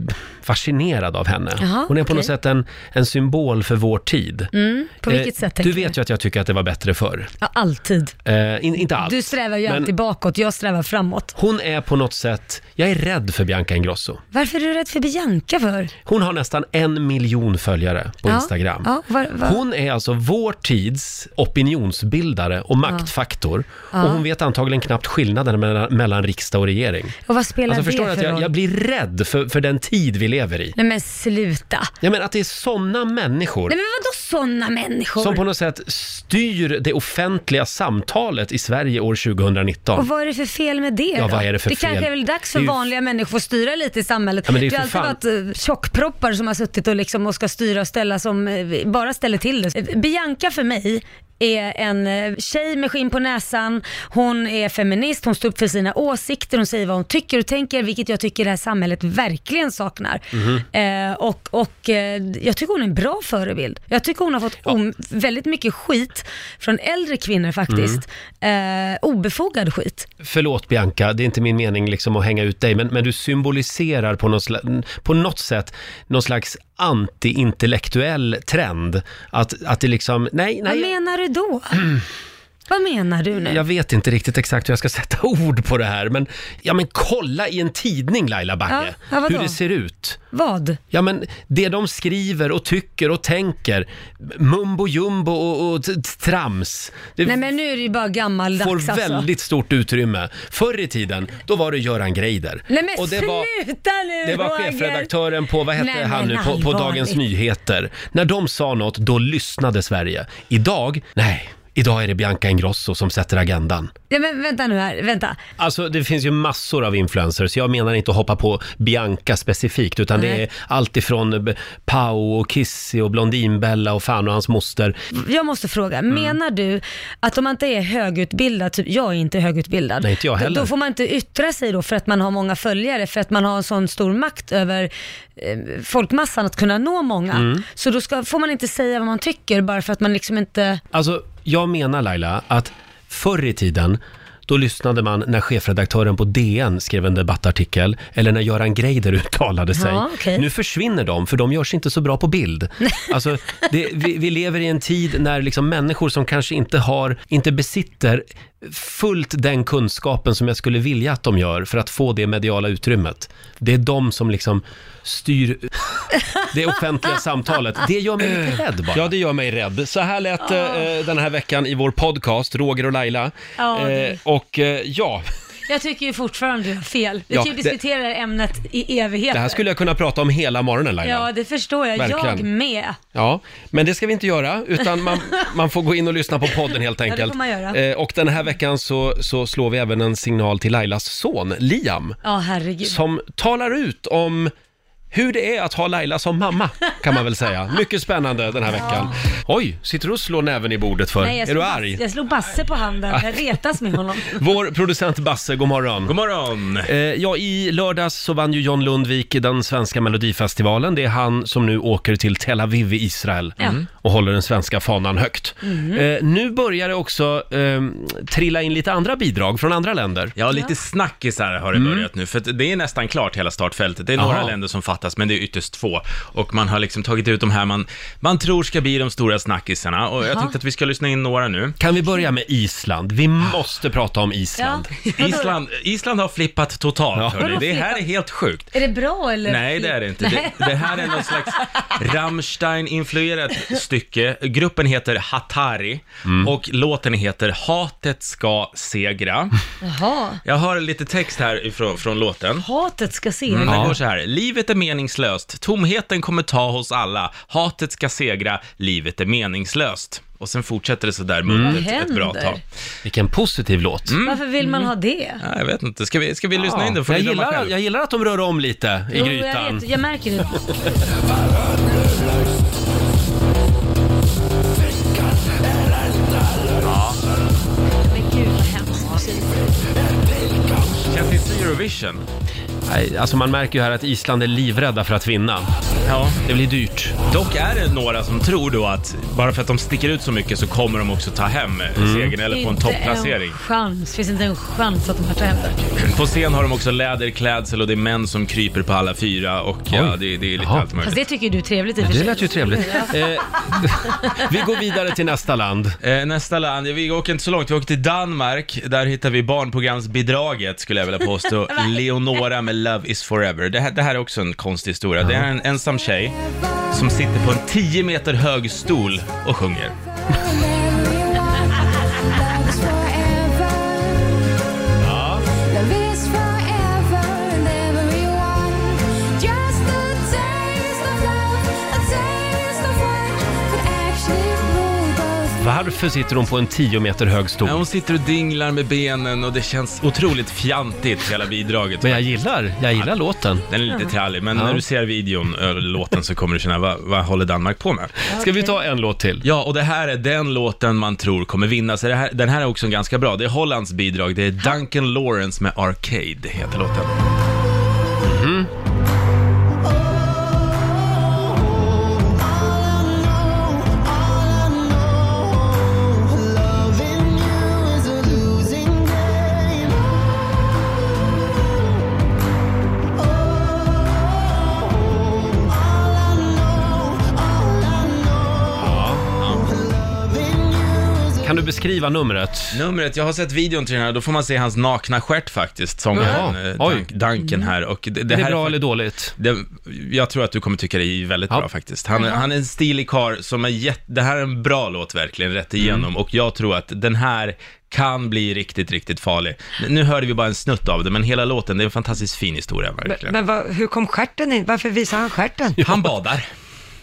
A: fascinerad av henne.
B: Jaha,
A: Hon är på något
B: okej.
A: sätt en, en symbol för vår tid.
B: Mm, på vilket
A: Eh,
B: sätt
A: Du
B: tänker
A: vet ju att jag tycker att det var bättre förr.
B: Ja, alltid.
A: Eh, in, inte allt.
B: Du strävar ju
A: Men-
B: alltid bakåt, jag strävar framåt.
A: Hon är på något sätt, jag är rädd för Bianca Ingrosso.
B: Varför är du rädd för Bianca för?
A: Hon har nästan en miljon följare på
B: Ja,
A: Instagram.
B: ja, va- va-
A: Hon är alltså vår tids opinionsbildare och maktfaktor.
B: Ja.
A: Och hon vet antagligen knappt skillnaden mellan, mellan riksdag och regering.
B: Och vad spelar
A: Alltså
B: det
A: förstår du
B: för
A: att jag,
B: roll?
A: jag blir rädd för, för den tid vi lever i.
B: Nej men sluta.
A: Ja, men att det är sådana människor
B: Nej men vadå sådana människor?
A: som på något sätt styr det offentliga samtalet i Sverige år 2019.
B: Och vad är det för fel med det
A: Ja,
B: då?
A: vad är det för
B: Det kanske
A: fel?
B: är väl dags för
A: Det är ju-
B: vanliga människor att styra lite i samhället.
A: Ja, men det är
B: har
A: för
B: alltid
A: fan-
B: varit eh, tjockproppar som har suttit och, liksom och ska styra och ställa som eh, bara ställer till det. Eh, Bianca för mig är en eh, tjej med skinn på näsan, hon är feminist, hon står upp för sina åsikter, hon säger vad hon tycker och tänker, vilket jag tycker det här samhället verkligen saknar.
A: Mhm.
B: Eh, och och eh, jag tycker hon är en bra förebild. Jag tycker hon har fått om, väldigt mycket skit från äldre kvinnor faktiskt.
A: Mm.
B: Eh, obefogad skit.
A: Förlåt Bianca, det är inte min mening liksom att hänga ut dig, men, men du symboliserar på, någon sla- på något sätt någon slags antiintellektuell trend. Att, att det liksom, nej,
B: Vad
A: nej.
B: menar du då? [CLEARS THROAT] Vad menar du nu?
A: Jag vet inte riktigt exakt hur jag ska sätta [LAUGHS] ord på det här, men, ja, men kolla i en tidning Laila Bagge,
B: Ja, ja, vadå?
A: hur det ser ut.
B: Vad?
A: Ja men det de skriver och tycker och tänker, mumbo jumbo och, och t- t- trams. Det
B: Nej men nu är det ju bara gammaldags
A: får
B: alltså.
A: väldigt stort utrymme. Förr i tiden, då var det Göran Greider.
B: Nej men
A: och det
B: sluta
A: var,
B: nu
A: Det var
B: Roger.
A: chefredaktören på, vad hette
B: Nej,
A: han nu,
B: men
A: på, på
B: allvarligt.
A: Dagens Nyheter. När de sa något, då lyssnade Sverige. Idag, nej, idag är det Bianca Ingrosso som sätter agendan.
B: Ja, men vänta nu här, vänta.
A: Alltså det finns ju massor av influencers, jag menar inte att hoppa på Bianca specifikt, utan det
B: Nej.
A: är allt ifrån eh, Pau och Kissy och Blondinbella och fan och hans moster.
B: Jag måste fråga,
A: Mm.
B: menar du att om man inte är högutbildad, typ jag är inte högutbildad.
A: Nej, inte jag
B: då-
A: heller.
B: Då får man inte yttra sig då för att man har många följare, för att man har en sån stor makt över eh, folkmassan att kunna nå många.
A: Mm.
B: Så då ska, får man inte säga vad man tycker bara för att man liksom inte...
A: Alltså, jag menar Laila att förr i tiden då lyssnade man när chefredaktören på DN skrev en debattartikel eller när Göran Greider [LAUGHS] uttalade sig.
B: Ja, okej.
A: Nu försvinner de, för de görs inte så bra på
B: [LAUGHS]
A: bild. Alltså, det, vi, vi lever i en tid när liksom människor som kanske inte, har, inte besitter fullt den kunskapen som jag skulle vilja att de gör för att få det mediala utrymmet. Det är de som liksom
B: [LAUGHS]
A: styr det offentliga samtalet. Det gör mig lite rädd bara. Ja, det gör mig rädd. Så här lät det eh, den här veckan i vår podcast, Roger och Laila.
B: Ah. Ja, det-
A: Eh, och eh, ja,
B: Jag tycker ju fortfarande du har fel. Vi
A: Ja,
B: kan ju
A: det-
B: diskutera det... här ämnet i evigheter.
A: det här skulle jag kunna prata om hela morgonen Laila.
B: Ja, det förstår jag. Jag
A: Verkligen.
B: med.
A: Ja, men det ska vi inte göra, utan man, man får gå in och lyssna på podden helt
B: Ja, det
A: enkelt.
B: får man göra.
A: Eh, och den här veckan så, så slår vi även en signal till Lailas son, Liam,
B: Ja, herregud.
A: som talar ut om hur det är att ha Laila som mamma, kan man väl säga. Mycket spännande den här veckan. Oj, sitter du och slår näven i bordet för?
B: Nej, jag
A: är
B: slog
A: du
B: Bas-
A: arg?
B: Jag slog Basse på handen. Jag retas med honom.
A: Vår producent Basse, god morgon. God
H: morgon.
A: Eh, ja, i lördags så vann ju John Lundvik den svenska melodifestivalen. Det är han som nu åker till Tel Aviv i Israel
H: Ja.
A: och håller den svenska fanan högt.
H: Mm.
A: Eh, nu börjar det också eh, trilla in lite andra bidrag från andra länder. Mm.
H: Ja, lite snackisar har det börjat nu, för att det är nästan klart hela startfältet. Det är några
A: Jaha.
H: länder som fattas, men det är ytterst få. Och man har liksom tagit ut de här man, man tror ska bli de stora snackisarna. Och jag
B: Jaha.
H: tänkte att vi ska lyssna in några nu.
A: Kan vi börja med Island? Vi måste prata om Island.
B: Ja. [LAUGHS]
H: Island, Island har flippat totalt, hörni.
B: Vadå
H: Det här är
B: flippat?
H: helt sjukt.
B: Är det bra eller?
H: Nej, det är det inte. Det,
B: Nej.
H: det här är
B: [LAUGHS]
H: någon slags Rammstein-influerat stycke. Gruppen heter Hatari
A: Mm.
H: och låten heter Hatet ska segra.
B: Jaha.
H: Jag har lite text här ifrån, från låten.
B: Hatet ska se.
H: Mm, Den går så här. Livet är meningslöst. Tomheten kommer ta oss alla. Hatet ska segra. Livet är meningslöst. Och sen fortsätter det så där muntert
B: Vad
H: ett bra
B: händer?
H: tag.
A: Vilken positiv låt.
B: Varför vill man ha det?
H: Mm. Ja, jag vet inte. Ska vi, ska vi lyssna in den? Får
A: jag,
H: ni döma
A: gillar,
H: själv?
A: jag gillar att de rör om lite i
B: Jo, Jag,
A: grytan.
B: vet, jag märker det. Men gud vad hemskt musik.
H: Känns inte Eurovision?
A: Nej, alltså man märker ju här att Island är livrädda för att vinna.
H: Ja.
A: Det blir dyrt.
H: Dock är det några som tror då att bara för att de sticker ut så mycket så kommer de också ta hem mm. segern eller få en
B: Inte
H: topplacering.
B: En chans. Finns inte en chans att de här tar hem det.
H: På scen har de också läderklädsel och det är män som kryper på alla fyra och ja, det, det är lite allt möjligt.
B: Fast det tycker ju du är trevligt i och för
A: Det
B: sig.
A: lät ju trevligt.
B: Ja.
A: Eh,
H: [LAUGHS]
A: vi går vidare till nästa land.
H: Eh, nästa land, vi åker inte så långt, vi åker till Danmark. Där hittar vi barnprogramsbidraget skulle jag vilja
A: [LAUGHS]
H: påstå. [LAUGHS] Leonora med Love is forever. Det här, det här är också en konstig historia. Det är en ensam tjej som sitter på en 10 meter hög stol och sjunger.
A: Varför sitter hon på en 10 meter hög stol?
H: Ja, hon sitter och dinglar med benen och det känns otroligt fjantigt hela bidraget.
A: Men jag gillar, jag gillar låten.
H: Den är lite trallig, men
A: Ja.
H: när du ser videon, eller låten, så kommer du känna, vad, vad håller Danmark på med?
A: Ska vi ta en låt till?
H: Ja, och det här är den låten man tror kommer vinna, så det här, den här är också ganska bra. Det är Hollands bidrag, det är Duncan Lawrence med Arcade, heter låten.
A: Mhm. Kan du beskriva numret?
H: Numret, jag har sett videon till den här, då får man se hans nakna stjärt faktiskt, sångaren
A: Jaha.
H: eh,
A: Oj. Mm.
H: Dunk, Duncan här. Och det,
A: Är det
H: här
A: bra
H: fa-
A: eller dåligt?
H: Det, jag tror att du kommer tycka det är väldigt bra faktiskt. Han,
A: Jaha.
H: han är en stilig karl som är jätte, det här är en bra låt verkligen, rätt igenom.
A: Mm.
H: Och jag tror att den här kan bli riktigt, riktigt farlig. Nu hörde vi bara en snutt av det, men hela låten, det är en fantastiskt fin historia verkligen.
C: Men vad, hur kom stjärten in? Varför visar han
A: [LAUGHS]
C: stjärten?
H: Han badar.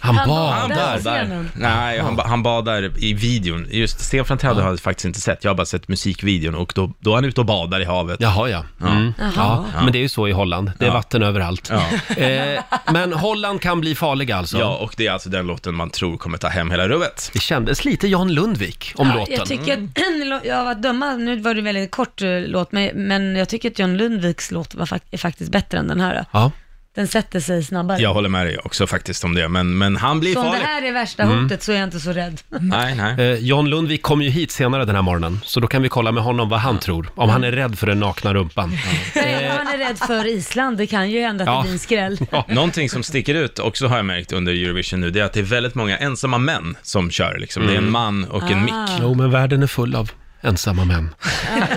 A: Han
C: Han badar. badar på
H: badar.
C: scenen.
H: Nej, han, ba- han badar i videon. Just Stefan Träder har jag faktiskt inte sett. Jag har bara sett musikvideon och då, då är han ute och badar i havet.
A: Jaha, ja. Mm.
H: Jaha.
A: ja. Men det är ju så i Holland. Det är
H: Ja.
A: vatten överallt.
H: Ja.
A: Eh, men Holland kan bli farliga alltså.
H: Ja, och det är alltså den låten man tror kommer ta hem hela rubbet.
A: Det kändes lite Jan Lundvik om låten.
B: Jag tycker att, [CLEARS THROAT] jag var döma, nu var det väldigt kort eh, låt, men- men jag tycker att John Lundviks låt var, fak- är faktiskt bättre än den här.
A: Ja.
B: Den sätter sig snabbare.
H: Jag håller med dig också faktiskt om det, men, men han blir
B: så om
H: farlig.
B: det här är värsta
A: Mm.
B: hotet så är jag inte så rädd.
H: Nej, nej.
A: Eh, John Lundvik kommer ju hit senare den här morgonen, så då kan vi kolla med honom vad han tror. Om han är rädd för den nakna rumpan.
B: Nej, man är rädd för Island, det kan ju hända att
H: Ja.
B: det blir en skräll.
H: Någonting som sticker ut också har jag märkt under Eurovision nu, det är att det är väldigt många ensamma män som kör liksom. Det är en man och
B: Ah.
H: en mick.
A: Mm. Jo, men världen är full av ensamma män.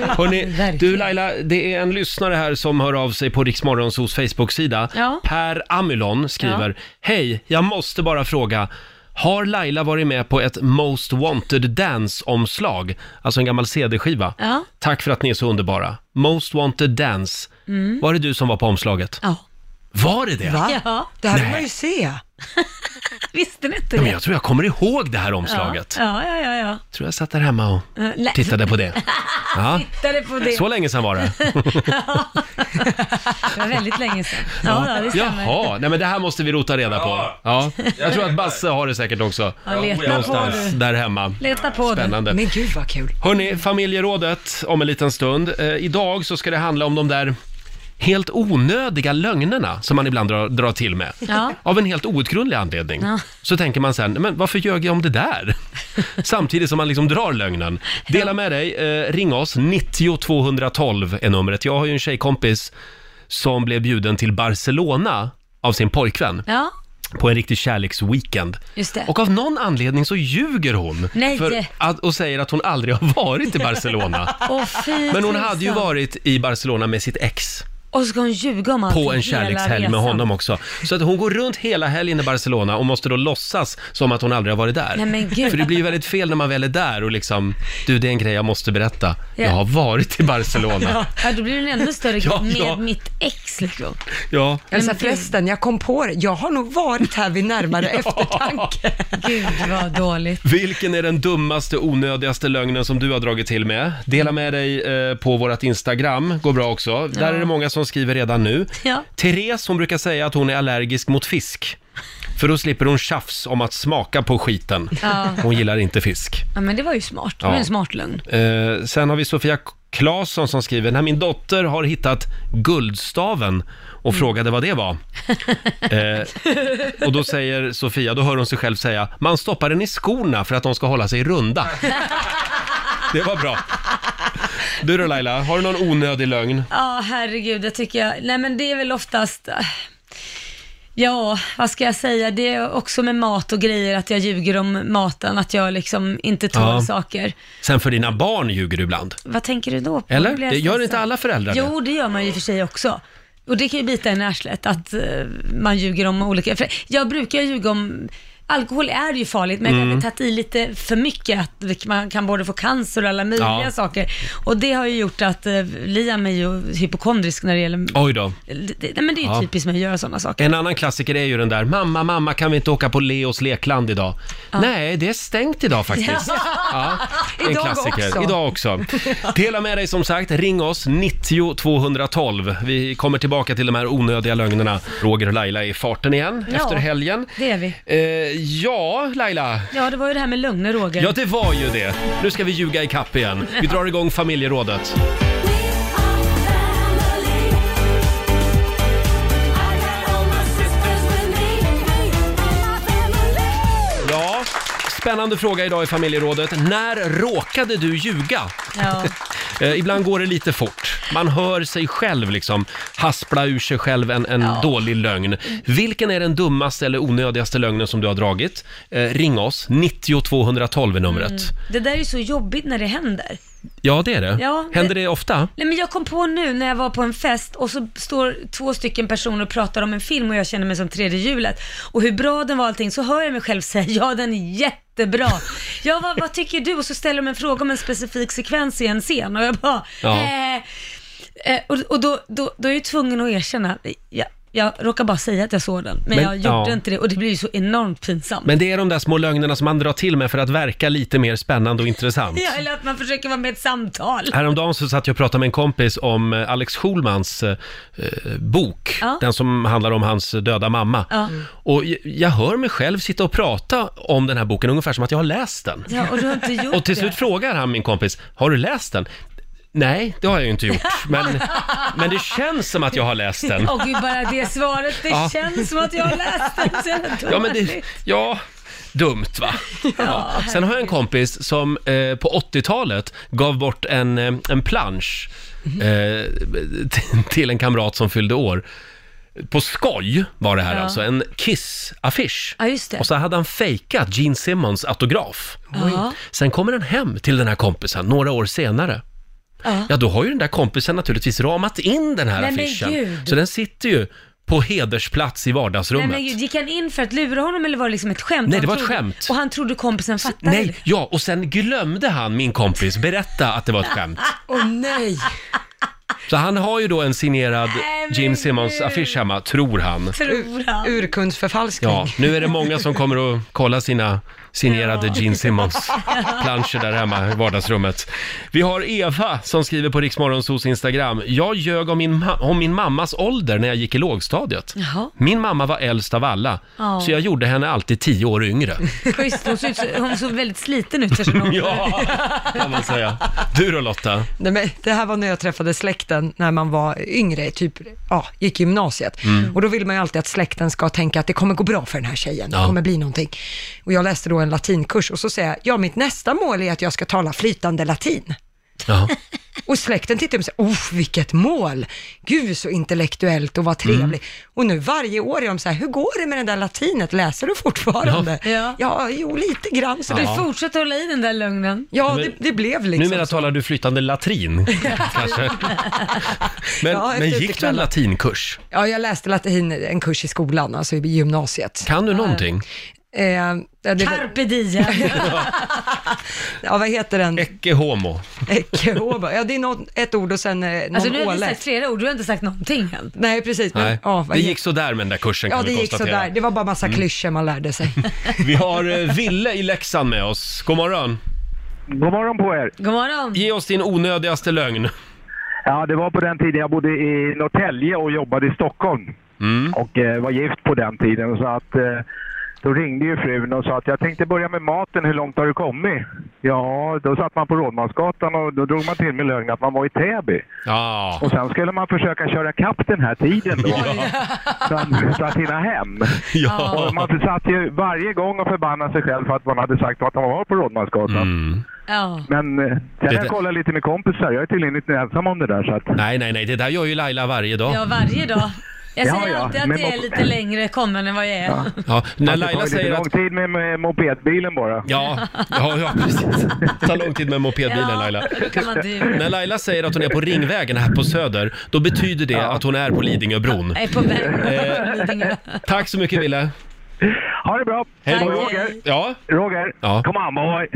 A: Hörrni, du Laila, det är en lyssnare här som hör av sig på Riksmorgonsos Facebook-sida.
B: Ja.
A: Per Amylon skriver, hej, jag måste bara fråga, har Laila varit med på ett Most Wanted Dance-omslag? Alltså en gammal CD-skiva.
B: Ja.
A: Tack för att ni är så underbara. Most Wanted Dance.
B: Mm.
A: Var det du som var på omslaget?
B: Ja.
A: Var det det?
B: Ja.
C: Det här vill
A: Nej.
C: man ju se.
B: [LAUGHS] Visste ni inte
A: Ja,
B: det?
A: men jag tror jag kommer ihåg det här omslaget.
B: Ja, ja, ja. ja.
A: tror jag satt där hemma och
B: Eh, lä- [LAUGHS]
A: tittade på det. Ja.
B: Tittade på det.
A: Så länge sedan var det.
B: Det var väldigt länge sedan. Ja, ja det stämmer.
A: Jaha, nej men det här måste vi rota reda på. Ja. Jag tror att Basse har det säkert också.
B: Ja, leta på
A: Någonstans
B: du.
A: där hemma.
B: Leta på
A: Spännande.
B: den.
A: Men
C: gud vad kul.
A: Hörni, familjerådet om en liten stund. Eh, idag så ska det handla om de där helt onödiga lögnerna som man ibland drar, drar till med.
B: Ja.
A: Av en helt outgrundlig anledning.
B: Ja.
A: Så tänker man sen, men varför ljög jag om
B: [LAUGHS]
A: det där? Samtidigt som man liksom drar lögnen. Dela med dig, eh, ring oss, 90 212 är numret. Jag har ju en tjejkompis som blev bjuden till Barcelona av sin pojkvän
B: Ja,
A: på en riktig kärleksweekend.
B: just det.
A: Och av någon anledning så ljuger hon
B: Nej.
A: För att, och säger att hon aldrig har varit
B: [LAUGHS]
A: i Barcelona.
B: Åh, fy
A: Men hon hade ju
B: tusan.
A: varit i Barcelona med sitt ex
B: Och så ska hon ljuga om allt
A: på en kärlekshelg med honom också. Så att hon går runt hela helgen i Barcelona och måste då låtsas som att hon aldrig har varit där.
B: Nej, men gud.
A: För det blir ju väldigt fel när man väl är där och liksom, du det är en grej jag måste berätta. Jag har varit i Barcelona.
B: Ja.
A: Ja,
B: ja, då blir det en ännu större grej
A: Ja,
B: med
A: ja.
B: mitt ex liksom.
A: ja.
C: Jag sa Alltså, förresten, jag kom på det. Jag har nog varit här vid
A: [LAUGHS]
C: närmare eftertanke.
B: Gud vad dåligt.
A: Vilken är den dummaste, onödigaste lögnen som du har dragit till med? Dela med dig eh, på vårt Instagram, går bra också. Där är det många som skriver redan nu.
B: Ja.
A: Therese, hon brukar säga att hon är allergisk mot fisk. För då slipper hon tjafs om att smaka på skiten.
B: Ja.
A: Hon gillar inte fisk.
B: ja, men det var ju smart. Det var
A: Ja.
B: en smart [LAUGHS] lögn.
A: Eh, sen har vi Sofia Claesson som skriver, när min dotter har hittat guldstaven och frågade vad det var. Eh, och då säger Sofia, då hör hon sig själv säga, man stoppar den i skorna för att de ska hålla sig runda. Det var bra. Du då Laila, har du någon onödig lögn?
B: Ja, herregud, det tycker jag. Nej, men det är väl oftast... eh, Ja, vad ska jag säga? Det är också med mat och grejer, att jag ljuger om maten, att jag liksom inte tar
A: Ja.
B: saker.
A: Sen för dina barn ljuger du ibland.
B: Vad tänker du då? På?
A: Eller?
B: Blir jag
A: Det gör
B: stressad?
A: inte alla föräldrar det?
B: Jo, det gör man ju i och för sig också. Och det kan ju bita en i arslet att eh, man ljuger om olika... För jag brukar ljuga om... Alkohol är ju farligt, men jag
A: Mm.
B: har tagit i lite för mycket. Att man kan både få cancer och alla möjliga
A: Ja.
B: saker. Och det har ju gjort att eh, Liam är ju hypokondrisk när det gäller...
A: Oj då.
B: Det, det, nej, men det är ju
A: Ja.
B: typiskt med att göra sådana saker.
A: En annan klassiker är ju den där, mamma, mamma, kan vi inte åka på Leos lekland idag? Nej, det är stängt idag faktiskt. Ja, en
B: Idag
A: klassiker.
B: också.
A: Idag också. Dela med dig som sagt, ring oss 90 212. Vi kommer tillbaka till de här onödiga lögnerna. Roger och Laila är i farten igen
B: Ja.
A: efter helgen.
B: Det är vi.
A: Eh, ja, Laila.
B: Ja, det var ju det här med lögner, Roger.
A: Ja, det var ju det. Nu ska vi ljuga i kapp igen. Vi drar igång familjerådet. Ja, spännande fråga idag i familjerådet. När råkade du ljuga?
B: Ja.
A: Eh, ibland går det lite fort. Man hör sig själv liksom haspla ur sig själv en, en
B: Ja.
A: dålig lögn. Vilken är den dummaste eller onödigaste lögnen som du har dragit? Eh, ring oss, 90 212 är numret.
B: Mm. Det där är ju så jobbigt när det händer.
A: Ja, det är det.
B: Ja,
A: Händer
B: det-
A: det ofta?
B: Nej men jag kom på nu när jag var på en fest och så står två stycken personer och pratar om en film och jag känner mig som tredje hjulet. Och hur bra den var och allting, så hör jag mig själv säga [LAUGHS] ja den är jättebra. Ja vad, vad tycker du? Och så ställer de en fråga om en specifik sekvens i en scen och jag bara,
L: Ja.
B: eh, eh, och, och då, då, då är jag ju tvungen att erkänna, jag, jag råkar bara säga att jag såg den, men,
A: Men-
B: jag gjorde
A: ja.
B: inte det och det blir ju så enormt pinsamt.
A: Men det är de där små lögnerna som man drar till med för att verka lite mer spännande och intressant.
B: [LAUGHS] Ja, eller att man försöker vara med i ett samtal.
A: Häromdagen så satt jag och pratade med en kompis om eh, Alex Schulmans eh, eh, bok,
B: Ja.
A: den som handlar om hans döda mamma.
B: Ja.
A: Och j- jag hör mig själv sitta och prata om den här boken ungefär som att jag har läst den.
B: Ja, och du har inte gjort
A: Och till
B: det.
A: slut frågar han min kompis, har du läst den? Nej, det har jag ju inte gjort, men, men det känns som att jag har läst den.
B: Åh gud, bara det svaret. Det
A: Ja.
B: känns som att jag har läst den. Så jävla
A: Ja, men det,
B: dåligt. [LAUGHS]
A: ja, dumt va? Ja. Sen har jag en kompis som eh, på 80-talet gav bort en, eh, en plansch
B: Mhm.
A: eh, t- till en kamrat som fyllde år. På skoj var det här
B: Ja.
A: alltså, en Kiss-affisch.
B: Ja, just det.
A: Och så hade han fejkat Gene Simmons autograf.
B: Ja.
A: Sen kommer den hem till den här kompisen några år senare.
B: Ja.
A: Ja, då har ju den där kompisen naturligtvis ramat in den här
B: Nej, men
A: affischen.
B: gud.
A: Så den sitter ju på hedersplats i vardagsrummet.
B: Nej, men gud, gick han in för att lura honom eller var det liksom ett skämt?
A: Nej, det
B: Han
A: var ett
B: trodde-
A: skämt.
B: Och han trodde kompisen fattade?
A: Nej, ja, och sen glömde han, min kompis, berätta att det
B: [LAUGHS]
A: var ett skämt.
B: Åh nej!
A: Så han har ju då en signerad
C: Nej, men
A: Gene Simmons
C: gud.
A: affisch hemma, tror
B: [LAUGHS]
A: han.
B: Tror han.
C: Urkundsförfalskning.
A: Ja, nu är det många som kommer att kolla sina signerade Gene Simmons
B: [LAUGHS]
A: planscher där hemma i vardagsrummet. Vi har Eva som skriver på Riksmorgonsos Instagram. Jag ljög om min, ma- om min mammas ålder när jag gick i lågstadiet.
B: Jaha.
A: Min mamma var äldst av alla,
B: Ja.
A: så jag gjorde henne alltid tio
C: [LAUGHS]
A: år yngre.
B: Schysst, hon, såg ut, så- hon såg väldigt sliten ut för sin ålder.
A: [LAUGHS] ja, kan man säga. Du då Lotta?
C: Nej, men det här var när jag träffade släkten när man var yngre, typ, ja, gick i gymnasiet.
A: Mm.
C: Och då vill man ju alltid att släkten ska tänka att det kommer gå bra för den här tjejen,
A: Ja.
C: det kommer bli någonting. Och jag läste då en latinkurs och så säger jag, ja mitt nästa mål är att jag ska tala flytande latin.
A: Ja.
C: [LAUGHS] Och släkten tittar på mig och säger, oh vilket mål! Gud så intellektuellt och vad trevlig.
A: Mm.
C: Och nu varje år är de så här, hur går det med det där latinet, läser du fortfarande?
B: Ja. Ja.
C: jo lite grann. Så
A: Ja.
C: det
B: Du fortsätter hålla i den där lögnen.
C: Ja,
A: Men-
C: det, det blev liksom
A: Numera
C: så.
A: talar du
C: [LAUGHS]
A: flytande latrin, kanske. Men,
C: Ja,
A: men
C: efter
A: gick du en
C: kvällen.
A: latinkurs?
C: Ja, jag läste latin en kurs i skolan, alltså i gymnasiet.
A: Kan du någonting?
C: Eh, ja, det var, [LAUGHS]
B: Carpe diem.
C: ja, vad heter den?
A: Ecce homo.
C: Ekoba. Ja, det är något, ett ord och sen eh, någon
B: Alltså nu har vi sagt
C: ålätt.
B: flera ord, du har inte sagt någonting än.
C: Nej, precis. Men,
A: Nej.
C: ja, vad
A: det
C: heter-
A: gick sådär med den där kursen
C: Ja,
A: kan
C: det
A: vi
C: gick
A: konstatera.
C: sådär. Det var bara massa
A: Mm.
C: klyschor man lärde
A: [LAUGHS]
C: sig.
A: Vi har eh, Ville i Leksand med oss. God morgon.
L: God morgon på er!
B: God morgon.
A: Ge oss din onödigaste lögn.
L: Ja, det var på den tiden jag bodde i Norrtälje och jobbade i Stockholm.
A: Mm.
L: Och eh, var gift på den tiden. Och så att, eh, då ringde ju frun och sa att jag tänkte börja med maten, hur långt har du kommit? Ja, då satt man på Rådmansgatan och då drog man till med lögnen att man var i Täby.
A: Ja.
L: Och sen skulle man försöka köra kapp den här tiden
A: [LAUGHS]
L: då. Så att- Så att hinna hem.
A: Ja.
L: Och man satt ju varje gång och förbannade sig själv för att man hade sagt att man var på Rådmansgatan.
B: Ja.
L: Men eh, sen har
A: Mm. Det-
L: jag kollat lite med kompisar. Jag är tydligen inte ensam om det där. Så att...
A: Nej, nej, nej. Det där gör ju Laila varje dag.
B: ja, varje dag. Jag
L: Ja,
B: säger
L: ja,
B: alltid att
L: men
B: jag är
L: vad-
B: lite längre kommen än vad jag är.
A: Ja, när
L: Att det
A: Laila
L: tar lite
A: säger
L: lång
A: att...
L: tid med, med mopedbilen bara.
A: Ja, ja, ja precis. Det tar lång tid med mopedbilen
B: Ja,
A: Laila.
B: då kan man du.
A: När Laila säger att hon är på Ringvägen här på Söder, då betyder det att hon är på Lidingöbron.
B: Jag är på väg
A: Eh,
B: mot Lidingö.
A: Tack så mycket Ville.
L: Ha det bra!
A: Hej
B: Tack,
A: då.
B: hej.
A: Ja,
L: Roger,
A: Ja.
L: come on boy!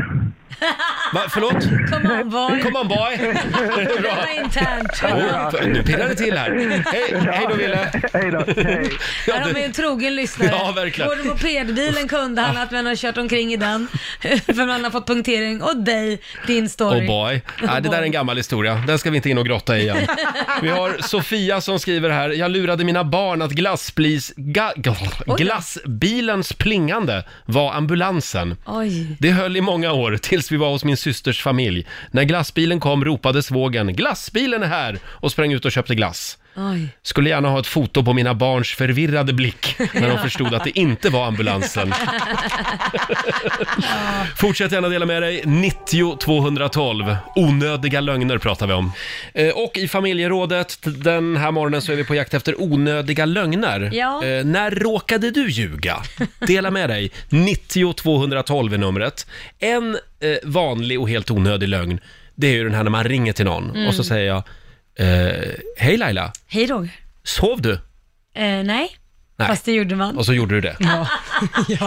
A: Va, förlåt?
B: Come on boy.
A: Come on boy!
B: Det var internt. Här
A: Nu pirrar det till här. Hej, hej då Ville!
L: Hej då! Hej.
A: Ja,
B: har vi
A: det,
B: en trogen lyssnare.
A: [LAUGHS] Ja, verkligen.
B: Både mopedbilen kunde han att man har kört omkring i den. [LAUGHS] För man har fått punktering. Och dig, din story.
A: oh boy. Ja, det där är en gammal historia. Den ska vi inte in och grotta i igen.
B: [LAUGHS]
A: Vi har Sofia som skriver här. Jag lurade mina barn att glassblis, ga,
B: då.
A: glassbilens plingande var ambulansen.
B: Oj.
A: Det höll i många år, tills vi var hos min systers familj. När glassbilen kom ropade svågen “Glassbilen är här!” och sprang ut och köpte glass.
B: Oj.
A: Skulle gärna ha ett foto på mina barns förvirrade blick när de förstod att det inte var ambulansen. Fortsätt gärna dela med dig. 90 212. Onödiga lögner pratar vi om. Eh, Och i familjerådet t- den här morgonen så är vi på jakt efter onödiga lögner.
B: Ja.
A: Eh, När råkade du ljuga? Dela med dig. 90 212 är numret. En eh, vanlig och helt onödig lögn, det är ju den här när man ringer till någon
B: Mm.
A: och så säger jag eh, Hej Laila,
B: Hej Roger.
A: sov du?
B: Eh, nej.
A: Nej.
B: fast det gjorde man.
A: Och så gjorde du det.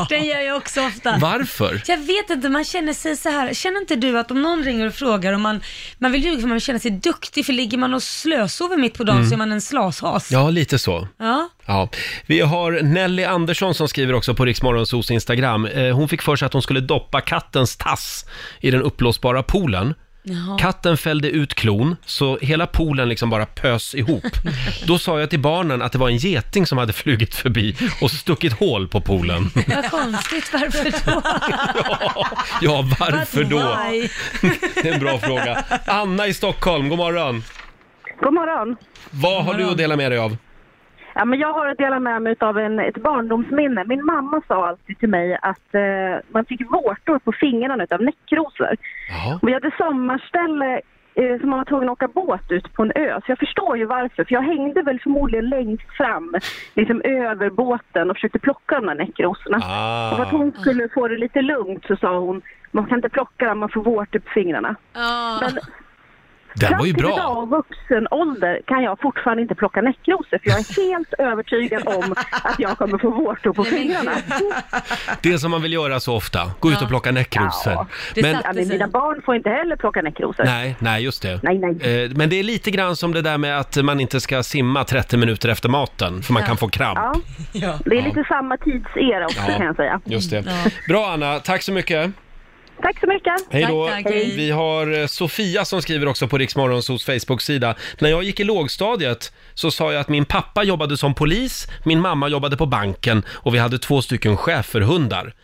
B: Den gör jag också ofta.
A: Varför?
B: Jag vet inte, man känner sig så här. Känner inte du att om någon ringer och frågar och man, man vill ljuga för man känner sig duktig, för ligger man och slösover mitt på dagen
A: Mm.
B: så är man en slashas.
A: Ja, lite så.
B: Ja.
A: Ja. Vi har Nelly Andersson som skriver också på Riksmorgonsos Instagram. Eh, Hon fick för sig att hon skulle doppa kattens tass i den uppblåsbara poolen.
B: Jaha.
A: Katten fällde ut klon, så hela poolen liksom bara pös ihop. Då sa jag till barnen att det var en geting som hade flugit förbi och stuckit hål på poolen.
B: Vad konstigt, varför då?
A: Ja, varför då?
B: Why?
A: [LAUGHS] Det är en bra fråga. Anna i Stockholm, god morgon.
M: God morgon.
A: Vad har du att dela med dig av?
M: Ja, men jag har att dela med mig av en, ett barndomsminne. Min mamma sa alltid till mig att eh, man fick vårtor på fingrarna av näckrosor. Och Vi hade sommarställe eh, som man var tvungen att åka båt ut på en ö. Så jag förstår ju varför. För jag hängde väl förmodligen längst fram, liksom över båten och försökte plocka de där näckrosorna.
A: Ah.
M: Och för att hon skulle få det lite lugnt så sa hon, man kan inte plocka dem, man får vårtor på fingrarna.
B: Ja.
M: Men
A: Den var ju
M: Fram till
A: bra.
M: idag, vuxen ålder, kan jag fortfarande inte plocka näckrosor för jag
A: [LAUGHS]
M: är helt övertygad om att jag kommer få vårtor på fingrarna.
A: Det som man vill göra så ofta, gå ut och plocka näckrosor. Men-
M: ja, men mina barn får inte heller plocka näckrosor.
A: Nej, nej, just det.
M: Nej, nej.
A: Eh, Men det är lite grann som det där med att man inte ska simma 30 minuter efter maten, för man kan få kramp.
M: Ja. Det är lite samma tidsera också
A: Ja,
M: kan jag säga.
A: Just det. Bra Anna, tack så mycket.
M: Tack så mycket.
A: Hej då. Vi har eh, Sofia som skriver också på Riksmorgonsos Facebook-sida. När jag gick i lågstadiet så sa jag att min pappa jobbade som polis, min mamma jobbade på banken och vi hade två stycken schäferhundar.
M: Mm.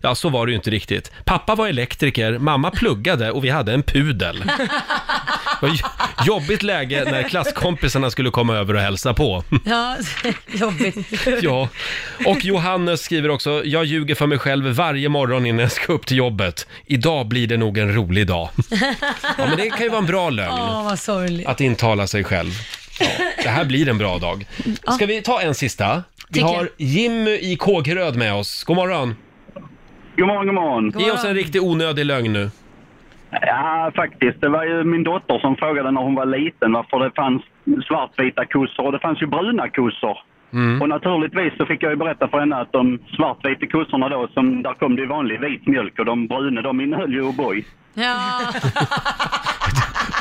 A: Ja, så var det ju inte riktigt. Pappa var elektriker, mamma pluggade och vi hade en
M: [LAUGHS]
A: pudel. Det var j- jobbigt läge när klasskompisarna skulle komma över och hälsa på. [LAUGHS]
B: Ja, jobbigt.
A: Ja, och Johannes skriver också, jag ljuger för mig själv varje morgon innan jag ska upp till jobbet. Idag blir det nog en rolig dag. Ja, men det kan ju vara en bra lögn.
B: Åh, vad sorgligt.
A: Att intala sig själv. Ja, det här blir en bra dag. Ska vi ta en sista? Vi
B: Tycker jag.
A: har Jimmy i Kågeröd med oss. God morgon!
N: God morgon, god morgon.
A: Ge oss en riktig onödig lögn nu.
N: Ja, faktiskt. Det var ju min dotter som frågade när hon var liten varför det fanns svartvita kossor och det fanns ju bruna kossor.
A: Mm.
N: Och naturligtvis så fick jag ju berätta för henne att de svartvita kossorna då, som, där kom det ju vanlig vit mjölk och de bruna de innehöll ju O'boy.
B: Ja.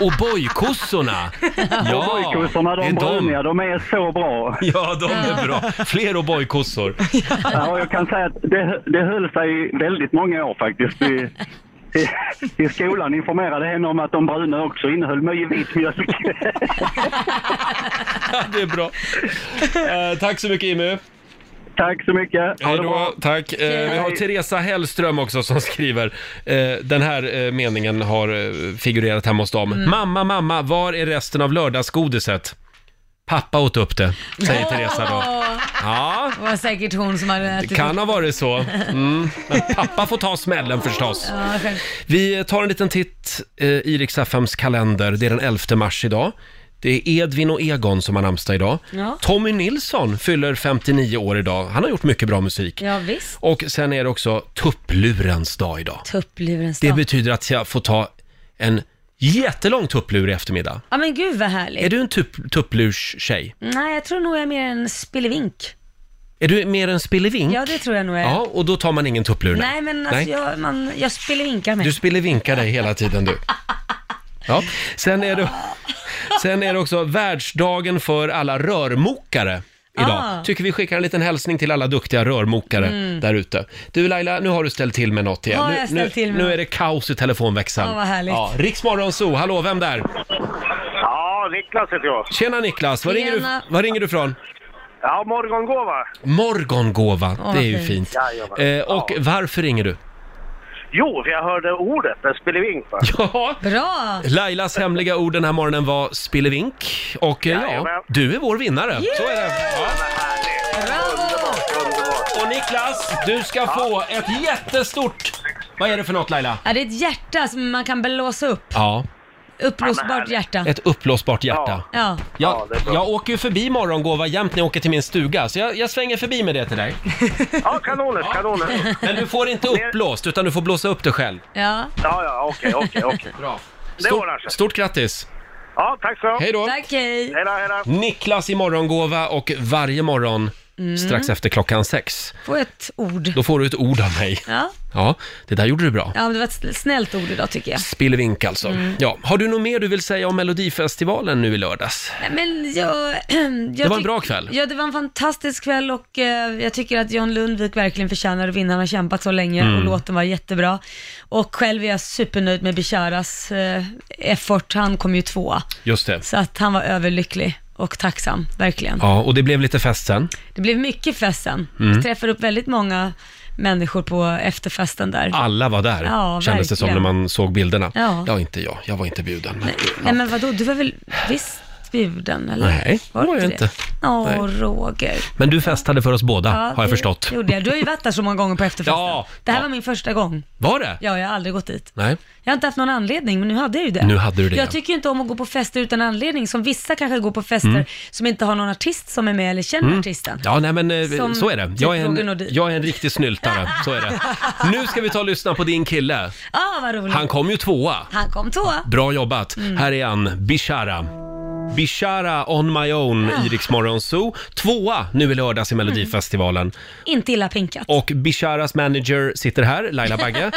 A: O'boy-kossorna!
N: [LAUGHS] O'boy-kossorna,
A: det
N: de
A: är
N: bruniga, de är så bra.
A: Ja, de är bra. [LAUGHS] Fler O'boy-kossor.
N: Ja, och jag kan säga att det, det höll sig i väldigt många år faktiskt. I, i, I skolan informerade henne om att de bruna också innehöll mycket vit mjölk.
A: [LAUGHS] det är bra. Eh, tack så mycket Jimmy.
N: Tack så mycket.
A: Hej då, tack. Eh, vi har
N: Hej.
A: Teresa Hellström också som skriver. Eh, den här eh, meningen har eh, figurerat hemma hos dem. Mamma, mamma, var är resten av lördagsgodiset? Pappa åt upp det, säger Teresa
B: [LAUGHS]
A: då.
B: Åh,
A: Ja,
B: Det var säkert hon som hade ätit
A: det kan ha varit så. Mm. Men pappa får ta smällen förstås.
B: Ja, själv.
A: Vi tar en liten titt eh, i Rix FMs kalender. Det är den 11 mars idag. Det är Edvin och Egon som har namnsdag idag.
B: Ja.
A: Tommy Nilsson fyller 59 år idag. Han har gjort mycket bra musik.
B: ja, visst.
A: Och sen är det också tupplurens dag idag.
B: Tupplurens
A: Det
B: dag.
A: betyder att jag får ta en jättelång tupplur i eftermiddag.
B: Ja men gud vad härligt.
A: Är du en tupp, tupplurs-tjej?
B: Nej, jag tror nog jag är mer en spillevink.
A: Är du mer en spillevink?
B: Ja, det tror jag nog jag är.
A: Ja, och då tar man ingen tupplur?
B: Nej, men alltså, Jag, man, jag spillevinkar med.
A: Du spillevinkar dig hela tiden du. Ja, sen är det, sen är det också världsdagen för alla rörmokare idag.
B: Ah.
A: Tycker vi skickar en liten hälsning till alla duktiga rörmokare
B: Mm.
A: där ute. Du Laila, nu har du ställt till med något igen.
B: Har
A: nu,
B: jag
A: nu,
B: ställt till med
A: nu
B: något?
A: är det kaos i telefonväxeln.
B: Ja, vad härligt.
A: Ja, Riksmorgon Zoo, hallå, vem där?
F: Ja, Niklas heter jag.
A: Tjena Niklas, var ringer, du,
F: Tjena.
A: var ringer du från?
F: Ja, morgongåva.
A: Morgongåva,
F: Åh,
A: det
F: vad
A: är ju
F: fint.
A: fint.
F: Jajamän.
A: Eh, och varför ringer du?
F: Jo, för jag hörde ordet, en spelevink va?
A: [LAUGHS] Ja.
B: Bra!
A: Lailas hemliga ord den här morgonen var spillevink och eh,
F: Jajamän.
A: ja, du är vår vinnare. Så är det. Och Niklas, du ska få ett jättestort... Vad är det för något Laila?
B: Ja, det är ett hjärta som man kan blåsa upp.
A: Ja,
B: Uppblåsbart hjärta.
A: ett uppblåsbart hjärta.
B: Ja.
A: Jag, jag åker ju förbi morgongåva jämt när jag åker till min stuga, så jag, jag svänger förbi med det till dig.
F: Ja, kanoner, kanoner.
A: Men du
F: [LAUGHS]
A: får inte uppblåst, utan du får blåsa upp det själv.
B: Ja.
F: Ja, ja, okej, okej, okej.
A: Bra.
F: Det ordnar sig.
A: Stort grattis!
F: Ja, tack så
A: Hej då.
B: Tack, hej.
F: Hej då, hej då.
A: Niklas i morgongåva och varje morgon
B: Mm.
A: strax efter klockan sex.
B: Få ett ord.
A: Då får du ett ord av mig.
B: Ja.
A: Ja, det där gjorde du bra.
B: ja, men det var ett snällt ord idag tycker jag.
A: Spillevink alltså.
B: Mm.
A: Ja. Har du något mer du vill säga om Melodifestivalen nu i lördags?
B: Nej, Men jag, [CLEARS THROAT] jag
A: Det var en
B: tyck-
A: bra kväll.
B: Ja, det var en fantastisk kväll och eh, jag tycker att John Lundvik verkligen förtjänar att vinna. Han har kämpat så länge och
O: Mm.
B: låten var jättebra. Och själv är jag supernöjd med Bisharas eh, effort. Han kom ju tvåa.
A: Just det.
B: Så att han var överlycklig och tacksam, verkligen.
A: Ja, och det blev lite fest sen.
B: Det blev mycket fest sen.
A: Mm.
B: Vi träffade upp väldigt många människor på efterfesten där.
A: Alla var där,
B: Ja,
A: kändes det som när
B: verkligen.
A: man såg bilderna.
B: Ja.
A: ja, inte jag. Jag var inte bjuden. Men...
B: Nej men vadå, du var väl, visst? bjuden eller?
A: Nej, det var jag inte.
B: Åh,
A: Nej.
B: Roger.
A: Men du festade för oss båda, har jag
B: det
A: förstått.
B: gjorde jag. Du har ju varit där så många gånger på efterfesten.
A: Ja,
B: det här var min första gång.
A: Var det?
B: Ja, jag har aldrig gått dit.
A: Nej.
B: Jag har inte haft någon anledning, men nu hade jag ju det.
A: Nu hade du det,
B: Jag
A: ja.
B: tycker ju inte om att gå på fester utan anledning, som vissa kanske går på fester
A: Mm.
B: som inte har någon artist som är med eller känner
A: Mm.
B: artisten.
A: Ja, nej men eh,
B: Som
A: så är det.
B: typ
A: Jag är,
B: Roger
A: en,
B: Nordin.
A: jag är en riktig snyltare, så är det.
B: [LAUGHS]
A: Nu ska vi ta och lyssna på din kille.
B: Ah, vad roligt.
A: Han kom ju tvåa.
B: Han kom tvåa.
A: Bra jobbat.
B: Mm.
A: Här är han, Bishara. Bishara on my own i Rix Morgon Zoo. Tvåa nu i lördags i Melodifestivalen.
B: Inte illa pinkat.
A: Och Bisharas manager sitter här,
B: [LAUGHS]
A: Laila Bagge.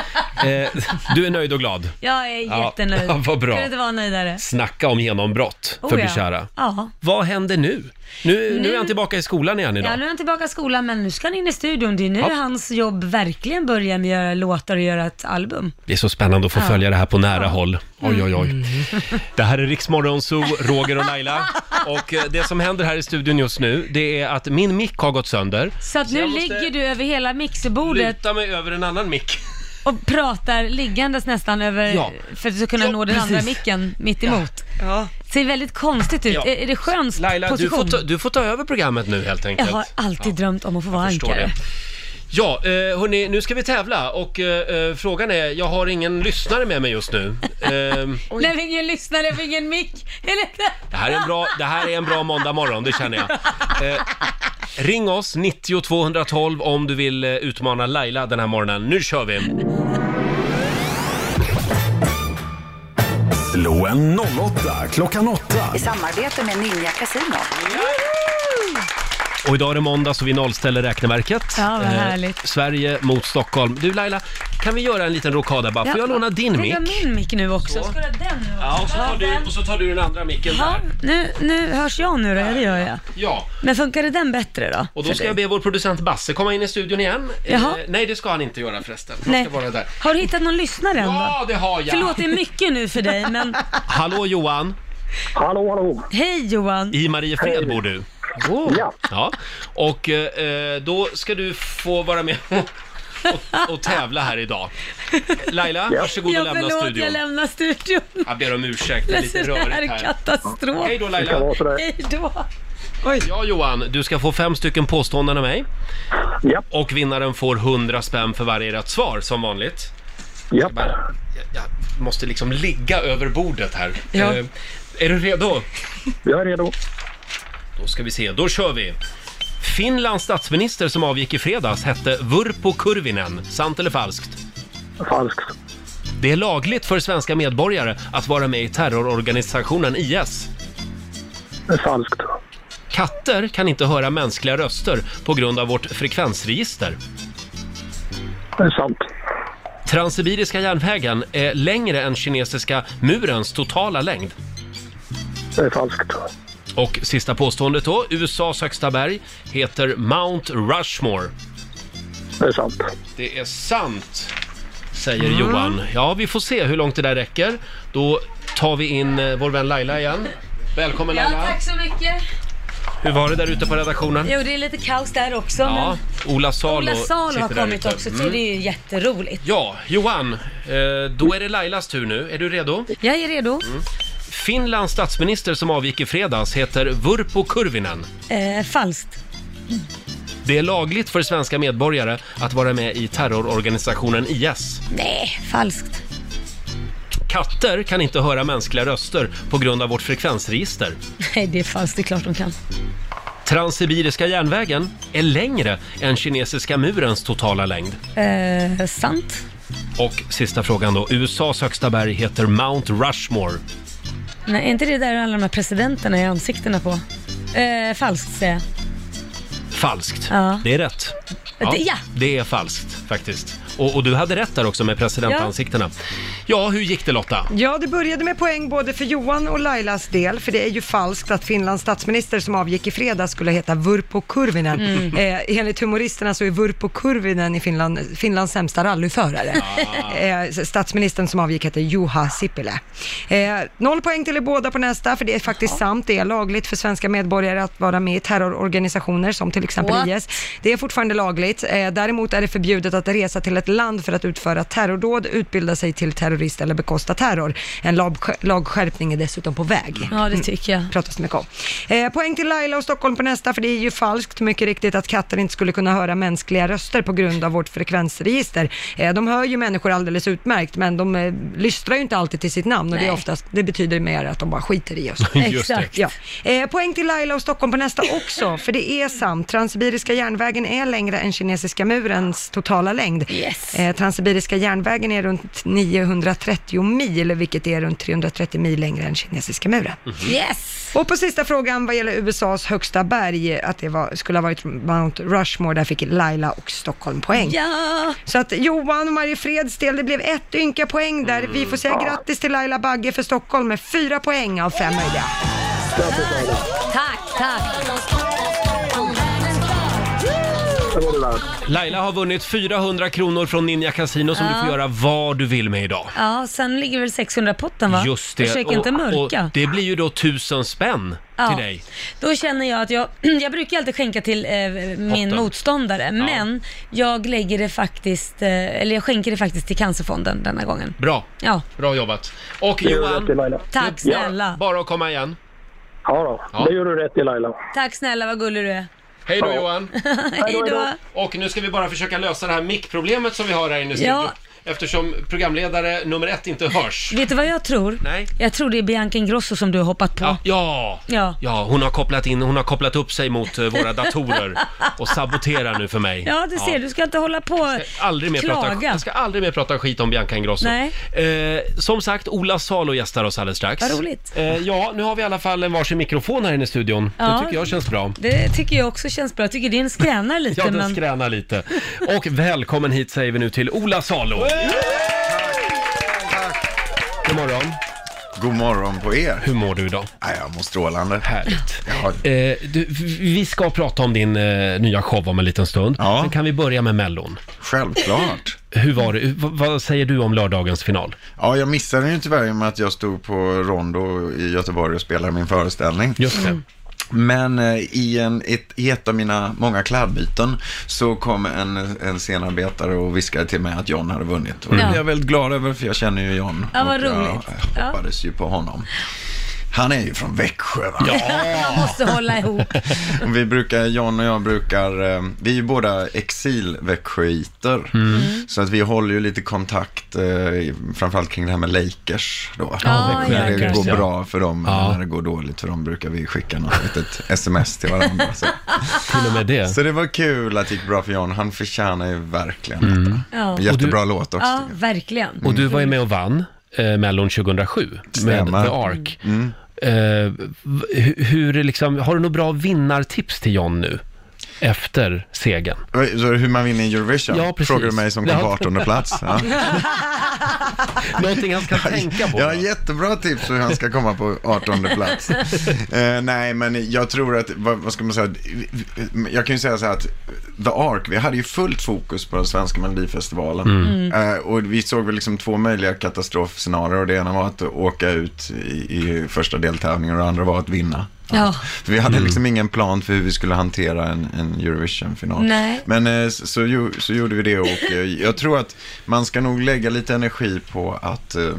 A: eh, du är nöjd och glad?
B: Jag är
A: Ja,
B: jättenöjd.
A: [LAUGHS] vad bra.
B: Kunde inte vara nöjdare.
A: Snacka om genombrott för
B: Oh, ja.
A: Bishara.
B: Ja.
A: Vad händer nu? Nu, nu...
B: Nu-
A: är han tillbaka i skolan igen idag.
B: Ja, nu är han tillbaka i skolan, men nu ska han in i studion. Det är nu
A: Ja.
B: hans jobb verkligen börjar med att göra låtar och göra ett album.
A: Det är så spännande att få
B: Ja. Mm.
A: följa det här på nära håll. Oj, oj, oj. Det här är Riksmorgon Zoo, Roger och Laila. Och eh, det som händer här i studion just nu, det är att min mick har gått sönder.
B: Så att nu
A: jag måste
B: ligger du över hela mixerbordet
A: Luta mig över en annan mick.
B: och pratar liggandes nästan över,
A: Ja.
B: för att du ska kunna
A: Ja,
B: nå den andra
A: precis.
B: micken mitt emot. Ser väldigt konstigt ut.
A: Ja.
B: Är är det skön
A: Laila, du
B: position?
A: får, ta, du får ta över programmet nu helt
B: Jag
A: enkelt.
B: har alltid drömt om att få vara
A: Förstår
B: ankare.
A: det. Ja, eh, hörni, nu ska vi tävla och eh, eh, frågan är, jag har ingen lyssnare med mig just nu. Ehm,
B: När vi ingen lyssnare, vi har ingen mick. Eller?
A: Det här är en bra, det här är en bra måndag morgon, det känner jag. Eh, ring oss, 90 212 om du vill eh, utmana Laila den här morgonen. Nu kör vi!
D: Slå en 08 klockan 8.
O: I samarbete med Ninja Casino.
A: Och idag är det måndag så vi nollställer räkneverket.
B: Ja, vad
A: Eh,
B: härligt.
A: Sverige mot Stockholm. Du Laila, kan vi göra en liten rokada bara? Får jag låna din mick?
B: Jag min mick nu också.
A: Så.
B: Ska du ha den nu
A: Ja, och
B: också?
A: så, tar du, och så tar du den andra micken
B: Ja,
A: där.
B: nu, nu hörs jag nu då, ja, det gör jag.
A: Ja,
B: Men funkade den bättre då?
A: och
B: för
A: då ska
B: dig?
A: jag be vår producent Basse komma in i studion igen. Eh,
B: Jaha.
A: nej, det ska han inte göra förresten. Han
B: Nej.
A: ska vara där.
B: Har du hittat någon lyssnare än
A: Ja,
B: då?
A: det har jag.
B: Förlåt, det är mycket nu för dig,
A: [LAUGHS]
B: men
A: Hallå Johan! Hallå, hallå!
B: hej Johan.
A: I Mariefred bor du. Oh.
B: Ja.
A: Ja, och eh, då ska du få vara med och, och tävla här idag. Laila, varsågod och
B: jag
A: lämna
B: förlåt,
A: studion.
B: jag lämnar studion.
A: Jag ber om ursäkt, det är
B: Alltså,
A: lite
B: det här
A: rörigt
B: är
A: här.
B: katastrof.
A: Hej då, Laila. Det kan vara sådär.
B: Hej då.
A: Ja, Johan, du ska få fem stycken påståenden av mig. Ja. Och vinnaren får 100 spänn för varje rätt svar, som vanligt. Ja. Jag, jag måste liksom ligga över bordet här.
E: Ja.
A: Eh, är du redo?
N: Jag är redo.
A: Då ska vi se, då kör vi! Finlands statsminister som avgick i fredags hette Vurpo Kurvinen. Sant eller falskt? Falskt. Det är lagligt för svenska medborgare att vara med i terrororganisationen IS. Falskt. Katter kan inte höra mänskliga röster på grund av vårt frekvensregister. sant. Transsibiriska järnvägen är längre än kinesiska murens totala längd. Det är falskt. Och sista påståendet då. USAs högsta berg heter Mount Rushmore. Det är sant. Det är sant, säger
E: Mm.
A: Johan. Ja, vi får se hur långt det där räcker. Då tar vi in eh, vår vän Laila igen. Välkommen
B: Ja,
A: Laila.
B: tack så mycket.
A: Hur var det där ute på redaktionen?
B: Jo, det är lite kaos där också,
A: Ja, Ola
B: men
A: Salo
B: Ola Salo har
A: sitter där
B: kommit
A: ute.
B: också till.
A: Mm.
B: Det är ju jätteroligt.
A: Ja, Johan, eh, då är det Lailas tur nu. Är du redo?
B: Jag är redo.
A: Mm. Finlands statsminister som avgick i fredags heter Vurpo Kurvinen.
B: Eh, falskt.
A: Det är lagligt för svenska medborgare att vara med i terrororganisationen IS.
B: Nej, falskt. [LAUGHS]
A: Katter kan inte höra mänskliga röster på grund av vårt frekvensregister.
B: Nej, det är falskt. Det är klart de kan.
A: Transsibiriska järnvägen är längre än kinesiska murens totala längd.
B: Eh, sant.
A: Och sista frågan då. USAs högsta berg heter Mount Rushmore.
B: Nej, är inte det där alla de här presidenterna är ansiktena på? Eh, falskt säger jag.
A: Falskt.
B: Ja.
A: Det är rätt.
B: Det- ja.
A: Det är falskt faktiskt. Och, och du hade rätt där också med presidentansiktena. Ja, hur gick det Lotta?
C: Ja, det började med poäng både för Johan och Lailas del, för det är ju falskt att Finlands statsminister som avgick i fredags skulle heta Vurpo Kurvinen.
E: Mm.
C: Eh, enligt humoristerna så är Vurpo Kurvinen i Finland, Finlands sämsta rallyförare. Eh, statsministern som avgick heter Juha Sipilä. Eh, noll poäng till er båda på nästa, för det är faktiskt sant. Det är lagligt för svenska medborgare att vara med i terrororganisationer som till exempel
B: What?
C: IS. Det är fortfarande lagligt. Eh, däremot är det förbjudet att resa till ett ett land för att utföra terrordåd, utbilda sig till terrorist eller bekosta terror. En lag- lagskärpning är dessutom på väg. Mm.
B: Ja, det tycker jag.
C: Pratas mycket om. Eh, poäng till Laila och Stockholm på nästa, för det är ju falskt mycket riktigt att katter inte skulle kunna höra mänskliga röster på grund av vårt frekvensregister. Eh, de hör ju människor alldeles utmärkt, men de eh, lystrar ju inte alltid till sitt namn och det, är
B: Nej.
C: oftast, det betyder mer att de bara skiter i oss.
B: [LAUGHS] Just det. Exakt.
C: Ja. Eh, poäng till Laila och Stockholm på nästa också, för det är sant. Transsibiriska järnvägen är längre än kinesiska murens totala längd. Eh, Transsibiriska järnvägen är runt 930 mil, vilket är runt 330 mil längre än kinesiska muren.
B: Mhm. Yes!
C: Och på sista frågan vad gäller USAs högsta berg, att det var, skulle ha varit Mount Rushmore, där fick Laila och Stockholm poäng.
B: Ja!
C: Så att Johan och Marie Freds del, det blev ett ynka poäng där. Vi får
B: Mm.
C: säga grattis till Laila Bagge för Stockholm med fyra poäng av fem möjliga.
B: Tack, tack.
A: Laila har vunnit 400 kronor från Ninja Casino som du
B: Ja.
A: får göra vad du vill med idag.
B: Ja, sen ligger väl 600 potten va?
A: Just det.
B: Försök inte mörka.
A: och det blir ju då tusen spänn
B: Ja.
A: till dig.
B: Då känner jag att jag, [CLEARS THROAT] jag brukar alltid skänka till eh, min
A: Potten.
B: motståndare, men jag lägger det faktiskt, eh, eller jag skänker det faktiskt till Cancerfonden denna gången.
A: Bra.
B: Ja.
A: Bra jobbat. Och
B: Det gör du
A: Johan,
B: rätt i, Laila. Tack
A: det-
B: snälla.
A: Bara att komma igen.
P: Ja, då. det gör du rätt i Laila.
B: Tack snälla, vad gullig du är.
A: Hej då Johan!
B: [LAUGHS] Hej då!
A: Och nu ska vi bara försöka lösa det här mickproblemet som vi har här inne i
B: Ja.
A: studion. Eftersom programledare nummer ett inte hörs.
B: Vet du vad jag tror?
A: Nej.
B: Jag tror det är Bianca Ingrosso som du har hoppat på. Ja.
A: Ja!
B: Ja.
A: Ja, hon har kopplat in, hon har kopplat upp sig mot eh, våra datorer och saboterar nu för mig.
B: det ser du. Du ska inte hålla på och
A: Aldrig mer
B: klaga.
A: prata, jag ska aldrig mer prata skit om Bianca Ingrosso.
B: Nej.
A: Eh, som sagt, Ola Salo gästar oss alldeles strax.
B: Vad roligt.
A: Eh, ja, nu har vi i alla fall en varsin mikrofon här inne i studion.
B: Ja.
A: Det tycker jag känns bra.
B: Det tycker jag också känns bra. Jag tycker din skränar lite,
A: Ja, den
B: men...
A: skränar lite. Och välkommen hit säger vi nu till Ola Salo. God morgon.
Q: God morgon på er.
A: Hur mår du idag?
Q: jag mår strålande.
A: Härligt. Eh, du, v- vi ska prata om din eh, nya show om en liten stund. Men kan vi börja med Mellon?
Q: Självklart.
A: Hur var det? V- vad säger du om lördagens final?
Q: Ja, jag missade ju tyvärr i och med att jag stod på Rondo i Göteborg och spelade min föreställning.
A: Just det.
Q: Men eh, i, en, ett, i ett av mina många klädbyten så kom en, en scenarbetare och viskade till mig att John hade vunnit. Och det
B: Ja.
Q: blev jag väldigt glad över för jag känner ju John.
B: Ja, vad
Q: och jag
B: roligt. Ja.
Q: hoppades ju på honom. Han är ju från Växjö
B: [LAUGHS]
Q: va?
B: Man måste hålla ihop.
Q: Och [LAUGHS] Vi brukar, John och jag brukar, eh, vi är ju båda exilväxjöiter. Så att vi håller ju lite kontakt, eh, i- framförallt kring det här med Lakers då.
I: Ja, Växjö
Q: när det
I: Lakers,
Q: går
I: ja.
Q: bra för dem, eller när det går dåligt för dem brukar vi skicka något litet sms
F: [LAUGHS]
Q: till varandra. Så.
A: Till och med det.
Q: så det var kul att det gick bra för John, han förtjänar ju verkligen detta.
B: Ja.
Q: Jättebra låt också.
B: Ja, verkligen.
A: Och du var ju med och vann eh, Mellon 2007 med
Q: Mm. Stämmer. Mm.
A: The Ark. Eh, v- hur, hur liksom, har du några bra vinnartips till John nu? Efter segern?
Q: Så hur man vinner i Eurovision?
A: Ja, precis.
Q: Frågar du mig som kom på
A: Ja.
Q: 18
A: [LAUGHS]
Q: plats? Ja.
A: Någonting han ska tänka på.
Q: Jag har jättebra tips hur han ska komma på 18
A: [LAUGHS]
Q: plats. Eh, nej, men jag tror att, vad, vad ska man säga, jag kan ju säga så här att The Ark, vi hade ju fullt fokus på den svenska melodifestivalen.
I: Mm.
Q: Eh, och vi såg väl liksom två möjliga katastrofscenarier och det ena var att åka ut i, i första deltävlingen och det andra var att vinna.
B: Ja.
Q: För vi
A: Mm.
Q: hade liksom ingen plan för hur vi skulle hantera en, en Eurovision-final.
B: Nej.
Q: Men eh, så, så, gjo- så gjorde vi det och eh, jag tror att man ska nog lägga lite energi på att, eh,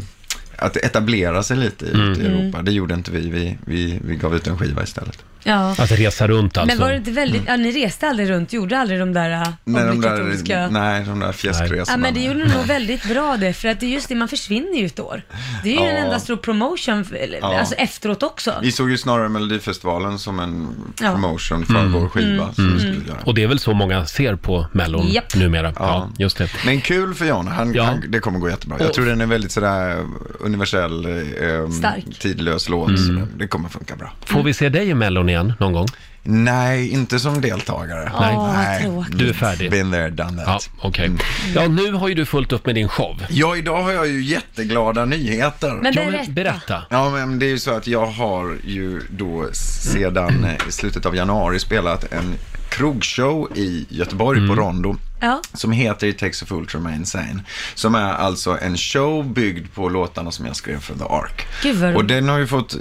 Q: att etablera sig lite i-
A: Mm.
Q: ute i Europa. Det gjorde inte vi. Vi, vi, vi gav ut en skiva istället.
B: Ja.
A: Att resa runt alltså.
B: Men var det inte väldigt, ja, ni reste aldrig runt, gjorde aldrig de där äh,
Q: Nej, de
B: obligatoriska...
Q: där, nej, de där
B: Ja,
Q: fjäskresorna.
B: men det gjorde ni nog väldigt bra det, för att det är just det, man försvinner ju ett år. Det är ju
Q: Ja.
B: en enda stor promotion, för- eller,
Q: Ja.
B: alltså efteråt också.
Q: Vi såg ju snarare Melodifestivalen som en
B: Ja.
Q: promotion för vår skiva.
B: Mm.
Q: Som vi
B: Mm.
Q: skulle göra.
A: Och det är väl så många ser på Mellon
B: Japp.
A: numera? Ja, just det.
Q: Men kul för John, han, han, det kommer gå jättebra. Jag
A: Och-
Q: tror den är väldigt sådär universell, eh,
A: Stark.
Q: tidlös låt.
A: Mm.
Q: Så Det kommer funka bra.
A: Får vi se dig i Mellon igen någon gång?
Q: Nej, inte som deltagare.
A: Nej. Åh, vad
Q: Nej.
A: tråkigt. Du är färdig.
Q: Been there, done that. Mm.
A: Ja, okej. Ja, nu har ju du fullt upp med din show.
Q: Ja, idag har jag ju jätteglada nyheter.
A: Men Ja, men berätta. berätta.
Q: Ja, men det är ju så att jag har ju då sedan eh, i slutet av januari spelat en krogshow i Göteborg på Rondo.
B: Ja.
Q: som heter It takes a fool to remain sane. Som är alltså en show byggd på låtarna som jag skrev för The Ark.
B: Gud, vad
Q: Och
B: roligt.
Q: den har ju fått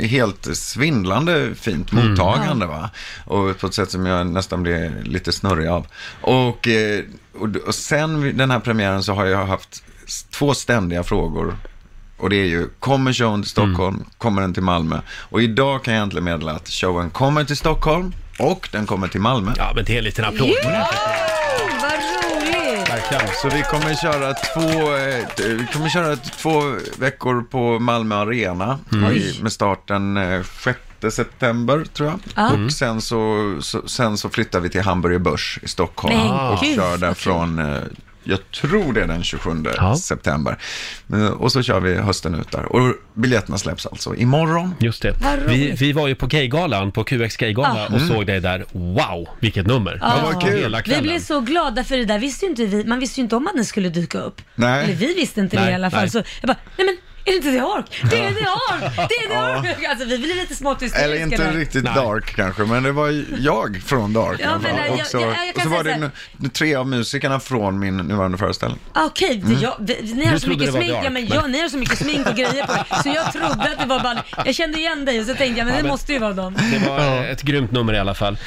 Q: eh, helt svindlande fint
B: Mm.
Q: mottagande va. Och på ett sätt som jag nästan blev lite snurrig av. Och, eh, och, d- och sen vid den här premiären så har jag haft s- två ständiga frågor. Och det är ju, kommer showen till Stockholm?
A: Mm.
Q: Kommer den till Malmö? Och idag kan jag äntligen meddela att showen kommer till Stockholm och den kommer till Malmö.
A: Ja, men det är en liten applåd.
B: Vad roligt!
Q: Så vi kommer köra två, eh, t- vi kommer köra t- två veckor på Malmö Arena
A: Mm.
Q: i, med starten eh, 6 september tror jag.
A: Ja. Mm.
Q: Och sen så, så, sen så flyttar vi till Hamburger Börs i Stockholm
A: Men
Q: och
A: gud,
Q: kör därifrån, eh, jag tror det är den 27 september. Men, och så kör vi hösten ut där. Och biljetterna släpps alltså imorgon.
A: Just det.
B: Vad roligt.
A: Vi, vi var ju på gaygalan, på QX gaygala
Q: Ah.
A: och
Q: Mm.
A: såg dig där. Wow, vilket nummer!
B: Ja.
A: Hela
B: vi
A: kvällen.
B: blev så glada för det där visste ju inte vi, man visste ju inte om att den skulle dyka upp.
A: Nej.
B: Eller vi visste inte det
A: Nej,
B: i alla fall.
A: nej.
B: Så jag bara, nej men är det inte The Ark? Det är
Q: Ja.
A: [LAUGHS]
B: The Ark! Det är The
Q: Ja.
B: Ark! Alltså vi blev lite smått hysteriska
Q: Eller inte
B: där.
Q: riktigt Dark kanske, men det var ju jag från Dark.
B: Ja,
Q: i alla
B: men,
Q: fall.
B: eh,
Q: och
B: jag-
Q: så,
B: jag- jag kan
Q: och så
B: säga
Q: var det
B: så här-
Q: nu- nu tre av musikerna från min nuvarande föreställning.
B: Ah, Okej, det-
Q: Mm.
B: jag- vi- ni
Q: Du
B: har
Q: trodde
B: så
Q: det
B: mycket
Q: var The
B: smink. Ja,
Q: Ark,
B: men
Q: men-
B: ja, ni har så mycket smink och grejer på er. Så jag trodde att det var bara, jag kände igen dig och så tänkte jag, men
A: Ja,
B: det
A: men-
B: måste ju vara dem.
A: Det var eh, ett grymt nummer i alla fall.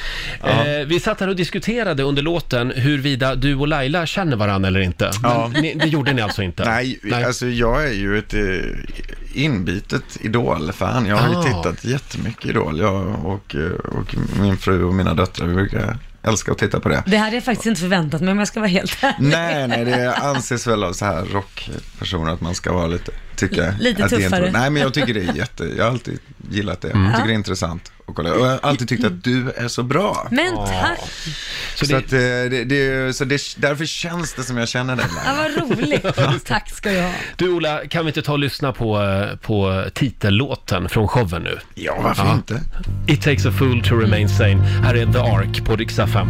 A: Eh, vi satt här och diskuterade under låten huruvida du och Laila känner varandra eller inte. Men
Q: Ja.
A: ni, det gjorde ni alltså inte?
Q: Nej, alltså jag är ju ett eh, inbitet Idol-fan. Jag har
A: Ah.
Q: ju tittat jättemycket Idol. Jag och, eh, och min fru och mina döttrar, vi brukar älska att titta på det.
B: Det hade jag faktiskt inte förväntat mig om jag ska vara helt ärlig.
Q: Nej, nej, det anses väl av så här rockpersoner att man ska vara lite, tycka.
B: Lite
Q: att det är
B: tuffare.
Q: inte, nej, men jag tycker det är jätte, jag har alltid gillat det.
A: Mm.
Q: Jag tycker
A: Ja.
Q: det är intressant att kolla. Och jag har alltid tyckt att du är så bra.
B: Men tack!
Q: Så, att, eh, det, det, så det, därför känns det som jag känner dig.
B: Ja, vad
A: [LAUGHS]
B: roligt. Tack ska jag ha.
A: Du Ola, kan vi inte ta och lyssna på, eh, på titellåten från showen nu?
Q: Ja, varför inte?
A: It takes a fool to remain sane. Här är The Ark på Riksa 5.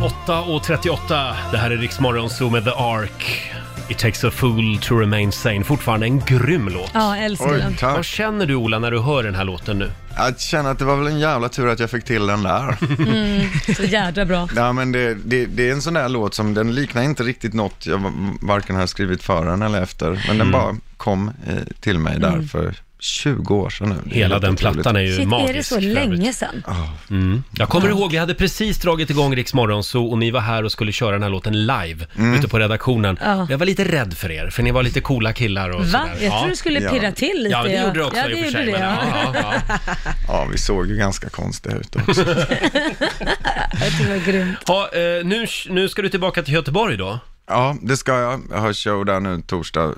A: 8.38, det här är Riksmorgon Zoo med The Ark. It takes a fool to remain sane. Fortfarande en grym låt.
B: Ja, älskar den.
A: Vad känner du Ola när du hör den här låten nu?
Q: Att känna att det var väl en jävla tur att jag fick till den där. [LAUGHS]
B: Mm, så jädra bra.
Q: Ja, men det, det, det är en sån där låt som den liknar inte riktigt något jag v- varken har skrivit före den eller efter. Men
A: Mm.
Q: den bara kom eh, till mig där
B: Mm.
Q: för 20 år sedan nu. Det är
A: Hela
Q: helt
A: den
Q: otroligt.
A: plattan är ju
B: Shit,
A: magisk.
B: är det så
A: för övrigt.
B: länge sedan?
A: Mm. Jag kommer ihåg, vi hade precis dragit igång Rix Morgon Zoo och ni var här och skulle köra den här låten live ute på redaktionen.
B: Mm. Ja.
A: Jag var lite rädd för er, för ni var lite coola killar och
B: Va?
A: sådär.
B: Jag tror du skulle pirra till lite,
A: Ja, men det
B: ja.
A: gjorde det också
B: Ja,
A: i
B: det
A: och för
B: gjorde
A: sig.
B: det,
A: men,
B: ja.
A: ja,
B: [LAUGHS]
A: ja, ja.
Q: Ja, vi såg ju ganska konstiga ut
A: [LAUGHS]
Q: också.
B: Det var grymt.
A: Ha, eh, nu, nu ska du tillbaka till Göteborg då.
Q: Ja, det ska jag. Jag har show där nu torsdag, eh,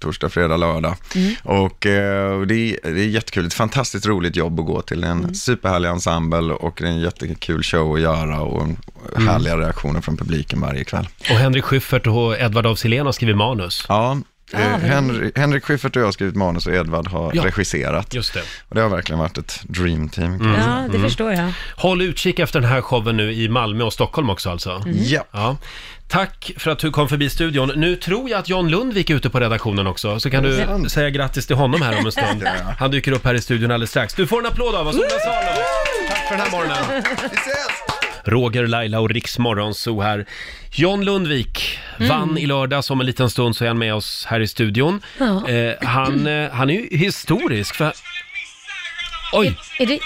Q: torsdag fredag, lördag.
B: Mm.
Q: Och eh, det, är, det är jättekul. Ett fantastiskt roligt jobb att gå till. Det är en
B: Mm.
Q: superhärlig ensemble och det är en jättekul show att göra och en-
A: Mm.
Q: härliga reaktioner från publiken varje kväll.
A: Och Henrik Schyffert och Edvard af Sillén har skrivit manus.
Q: Ja,
A: Ah,
Q: eh,
A: vad
Q: Henry, Henrik Schyffert och jag har skrivit manus och Edvard har
A: Ja,
Q: regisserat.
A: just det. Mm.
Q: Och det har verkligen varit ett dream team. kan man säga.
B: Ja, det förstår jag.
A: Håll utkik efter den här showen nu i Malmö och Stockholm också alltså.
B: Mm.
Q: Ja.
A: Tack för att du kom förbi studion. Nu tror jag att John Lundvik är ute på redaktionen också, så kan
Q: Är det
A: du
Q: sant?
A: säga grattis till honom här om en stund.
Q: Det gör jag.
A: Han dyker upp här i studion alldeles strax. Du får en applåd av oss, Ola Salo. Tack för den här morgonen. Roger, Laila och Riks Morgonzoo här. John Lundvik
B: Mm.
A: vann i lördags, om en liten stund så är han med oss här i studion.
B: Ja.
A: Eh, han, eh, han är ju historisk för... Oj,
B: Är det,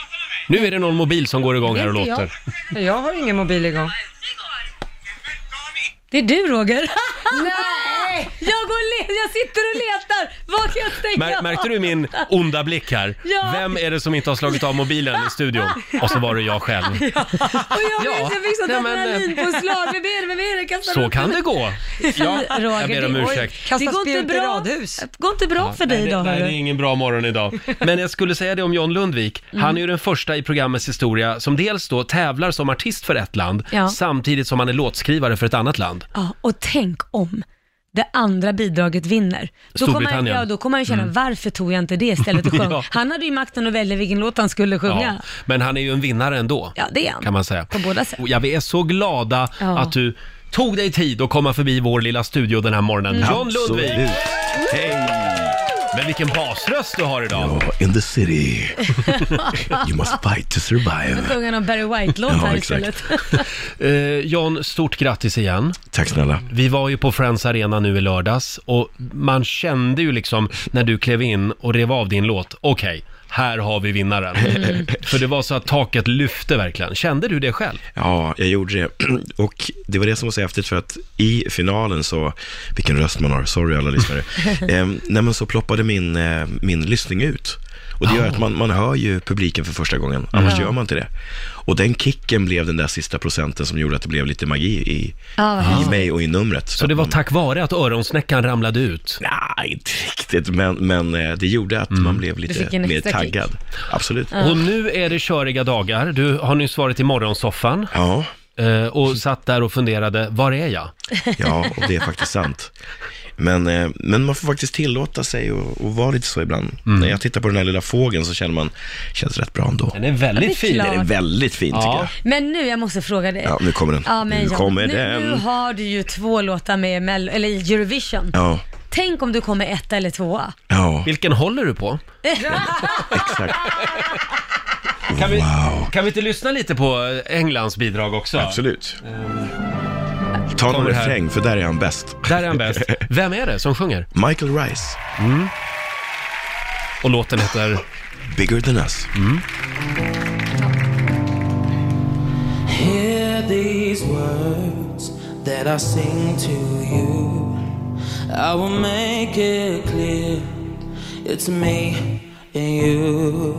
A: nu är det någon mobil som går igång här och
B: Det är inte
A: låter.
C: Jag. jag har ingen mobil igång.
B: [LAUGHS] det är du Roger? Nej! Jag, går och le- jag sitter och letar, vad kan jag stänga
A: Mär,
B: av?
A: märkte du min onda blick här?
B: Ja.
A: Vem är det som inte har slagit av mobilen i studion? Och så var det jag själv.
B: Och jag vet, jag fick sånt
A: nej, men, eh,
B: adrenalinpåslag. Vem är det? Vem är det? Kastar
A: Så
B: upp
A: kan
B: den.
A: det gå. Ja, jag ber om
B: det- oj,
A: ursäkt.
B: det går inte
C: spjut i
B: bra. Det går inte bra för dig
A: nej,
B: idag.
A: det- Nej, det
B: hörru.
A: är ingen bra morgon idag. Men jag skulle säga det om John Lundvik.
B: Mm.
A: Han är ju den första i programmets historia som dels då tävlar som artist för ett land,
B: Ja.
A: samtidigt som han är låtskrivare för ett annat land.
B: Ja, och tänk om det andra bidraget vinner. Då kommer, han,
A: Storbritannien.
B: ja, då kommer han ju känna,
A: Mm.
B: varför tog jag inte det istället
R: [LAUGHS]
B: och sjöng?
A: Ja.
B: Han hade ju makten att välja vilken låt han skulle sjunga.
A: Men han är ju en vinnare ändå.
B: Ja, det är han.
A: Kan man säga.
B: På båda sätt.
A: Och ja, vi är så glada
B: Ja.
A: att du tog dig tid att komma förbi vår lilla studio den här morgonen.
B: Mm.
A: John Lundvik!
B: Absolut.
A: Hej! Men vilken basröst du har idag!
R: In the city, [LAUGHS]
B: [LAUGHS]
R: you must fight to
B: Nu
R: survive.
B: sjunger någon Barry White-låt här
R: Ja, exakt.
B: istället. [LAUGHS]
A: Eh, John, stort grattis igen.
R: Tack snälla.
A: Vi var ju på Friends Arena nu i lördags och man kände ju liksom när du klev in och rev av din låt, okej, här har
R: [LAUGHS]
A: vi vinnaren.
R: Mm.
A: För det var så att taket lyfte verkligen. Kände du det själv?
R: Ja, jag gjorde det. [CLEARS THROAT] Och det var det som var så häftigt för att i finalen så, vilken röst man har, sorry alla
A: [LAUGHS]
R: lyssnare, eh, nej men så ploppade min, eh, min lyssning ut. Och det gör att man, man hör ju publiken för första gången, annars
B: Ja.
R: gör man inte det. Och den kicken blev den där sista procenten som gjorde att det blev lite magi i,
B: Ja, vad
R: i
B: häftigt.
R: mig och i numret.
A: Så det var tack vare att öronsnäckan ramlade ut?
R: Nej, inte [LAUGHS] riktigt, men, men eh, det gjorde
A: Mm.
R: att man blev
A: Du fick
R: lite
A: en
R: mer
A: extra kick.
R: taggad. Absolut.
A: Och nu är det köriga dagar. Du har nyss varit i morgonsoffan. Eh,
R: Ja.
A: Och satt där och funderade, var är jag?
R: Ja, och det är faktiskt sant. Men, eh, men man får faktiskt tillåta sig och, och vara lite så ibland.
A: Mm.
R: När jag tittar på den här lilla fågeln så känner man, känns rätt bra ändå.
A: Den är
B: Ja, det är
A: väldigt
B: fin. klart.
R: Den är väldigt fin tycker jag.
B: Men nu, jag måste fråga dig.
R: Ja, nu kommer den.
B: Ja, men
R: nu
B: John,
R: kommer
B: nu,
R: den.
B: nu har du ju två låtar med i Mel- eller i Eurovision.
R: Ja,
B: Tänk om du kommer etta eller
R: [LAUGHS]
B: tvåa.
R: ja.
A: Vilken håller du på?
R: Exakt.
A: Kan vi, kan vi inte lyssna lite på eh, Englands bidrag också? Eh,
R: Absolut. Ta någon
A: Kommer här.
R: refräng, för där är han bäst.
A: Där är han bäst. Vem är det som sjunger?
R: [LAUGHS] Michael Rice.
A: Och låten heter?
R: Bigger than us.
A: Mm.
E: Hear these words that I sing to you. I will make it clear it's me and you.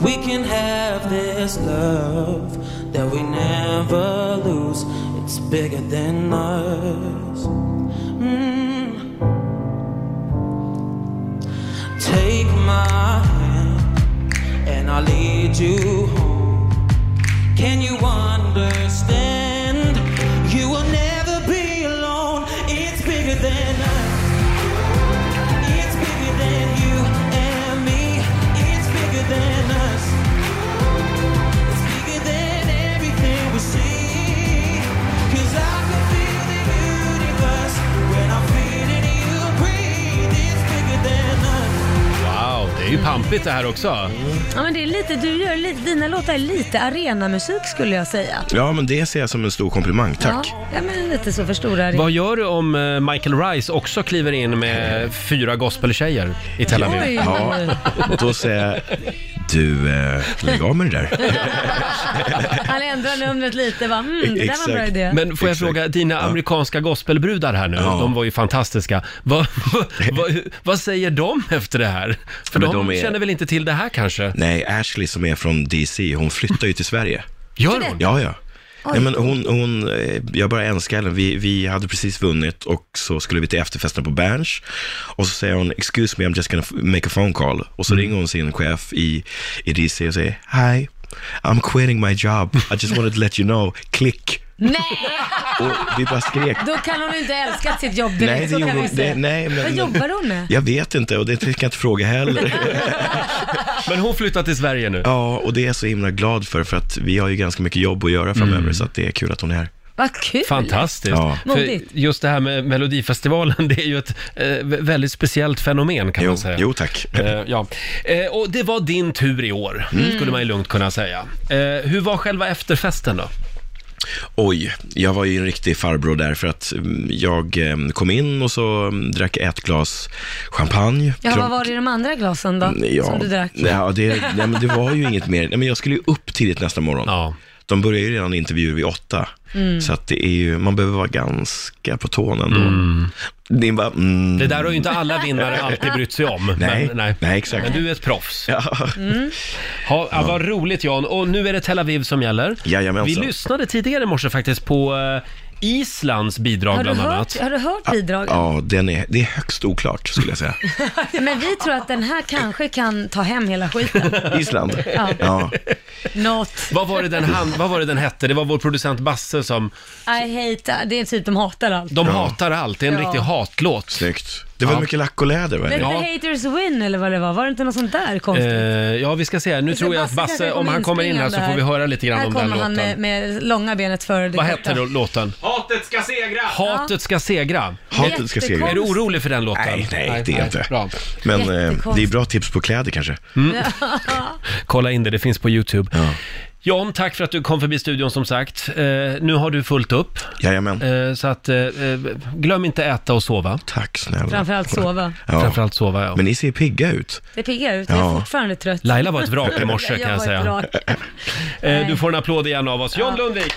E: We can have this love that we never lose. It's bigger than us. Mm. Take my hand and I'll lead you home. Can you understand? You will never be alone. It's bigger than us. It's bigger than you and me. It's bigger than us. It's bigger than everything we see. Cause I can feel the universe when I'm feeling you breathe. It's bigger than us.
A: Wow, det är ju pampigt det här också.
B: Ja, men det är lite, du gör lite, dina låtar är lite arenamusik skulle jag säga.
R: Ja, men det ser jag som en stor komplimang. Tack.
B: Ja, ja men lite så för stora
A: Vad
B: [LAUGHS] arenor.
A: gör du om eh, Michael Rice också kliver in med fyra gospeltjejer i Tel Aviv?
B: Oj.
R: Ja, då säger jag, du, eh, lägg av med det
B: Mm,
R: där.
B: Han ändrar numret lite va? Mm, det där var en bra idé.
A: Men får jag fråga, dina amerikanska gospelbrudar här nu, de var ju fantastiska. Vad, [LAUGHS] vad,
R: [LAUGHS]
A: vad, vad säger de efter det här? För
R: Men
A: de,
R: de är-
A: känner väl inte till det här kanske?
R: Nej, Ashley som är från DC, hon flyttar ju till Sverige.
A: [LAUGHS] Gör hon?
R: Ja, ja.
A: Oj.
R: Nej, men hon, hon, eh, jag bara älskar henne. Vi, vi hade precis vunnit och så skulle vi till efterfesten på Berns. Och så säger hon, excuse me, I'm just gonna f- make a phone call. Och så
A: Mm.
R: ringer hon sin chef i, i DC och säger, hi, I'm quitting my job. I just wanted to let you know, klick.
B: Nej!
R: [LAUGHS] Och vi bara skrek.
B: Då kan hon inte älska sitt jobb direkt,
R: Nej, det
B: så
R: gjorde
B: kan
R: hon
B: vi säga.
R: det, nej, men,
B: Vad jobbar hon med?
R: Jag vet inte och det tänker jag inte fråga heller.
A: [LAUGHS] Men hon flyttar till Sverige nu.
R: Ja, och det är jag så himla glad för, för att vi har ju ganska mycket jobb att göra framöver,
A: Mm.
R: så att det är kul att hon är här.
B: Vad Ah, kul!
A: Fantastiskt!
R: Ja.
A: För
B: Modigt.
A: just det här med Melodifestivalen, det är ju ett eh, vä- väldigt speciellt fenomen kan man säga.
R: jo, tack.
A: Eh, ja. eh, och det var din tur i år,
R: Mm.
A: skulle man ju lugnt kunna säga. Eh, hur var själva efterfesten då?
R: Oj, jag var ju en riktig farbror där för att mm, jag eh, kom in och så mm, drack ett glas champagne.
B: Ja, vad
R: Klom-
B: var det i de andra glasen då?
R: Mm, Ja,
B: Som du drack?
R: Ja, det, nej, men det var ju inget mer. Nej, men jag skulle ju upp tidigt nästa morgon. De börjar ju redan intervjuer vid åtta.
B: Mm.
R: Så att det är ju, man behöver vara ganska på tårna ändå. Det, är bara, mm.
A: Det där har ju inte alla vinnare alltid brytt sig om.
R: Nej,
A: men, nej.
R: exakt.
A: men du är ett proffs.
R: Ja.
B: Mm.
A: Ha, ja. Vad roligt Jan, och nu är det Tel Aviv som gäller. Vi
R: Jajamensan.
A: lyssnade tidigare i morse faktiskt på eh, Islands
B: [LAUGHS]
A: bidrag
B: Har du
A: bland
B: hört,
A: annat.
B: har du hört bidragen?
R: Ja, den är, det är högst oklart skulle jag säga.
B: [LAUGHS] Men vi tror att den här kanske kan ta hem hela skiten.
R: [LAUGHS]
A: [LAUGHS]
R: Island?
B: Ja.
R: ja.
B: Not.
A: Vad var, det den han, vad var det den hette? Det var vår producent Basse som...
B: I hate, det är typ de hatar allt.
A: De hatar allt, det är en
B: Ja.
A: riktig hatlåt.
R: Snyggt. Det var mycket lack och läder va?
B: Let the haters win eller vad det var, var det inte något sånt där konstigt?
A: Eh, ja, vi ska se. här. Nu
B: Alltså,
A: tror jag att
B: Basse kanske
A: Basse, om
B: kommer
A: han kommer in här så
B: inspringande
A: får vi höra lite grann
B: här
A: om den
B: kommer han
A: låten.
B: med, med långa benet före det
A: Vad
B: korta.
A: hette då låten?
H: Hatet ska segra!
A: Hatet ska segra.
R: Hatet ska segra.
A: Är du orolig för den låten?
R: Nej, nej, det är jag inte.
A: Bra.
R: Men eh, det är
A: Jättekonstigt.
R: bra tips på kläder kanske.
A: Mm. [LAUGHS] Kolla in det, det finns på YouTube. John, tack för att du kom förbi studion som sagt. Eh, nu har du fullt upp.
R: Jajamän.
A: Eh, så att, eh, eh, glöm inte äta och sova.
R: Tack snälla.
B: Framförallt sova.
R: Ja.
A: Framförallt sova, ja.
R: Men ni ser pigga ut.
B: Det piggar ut, jag är
R: Ja.
B: fortfarande trött.
A: Laila var ett vrak i morse kan jag
B: var ett
A: säga.
B: vrak.
A: [LAUGHS] Eh, du får en applåd igen av oss. John Lundvik!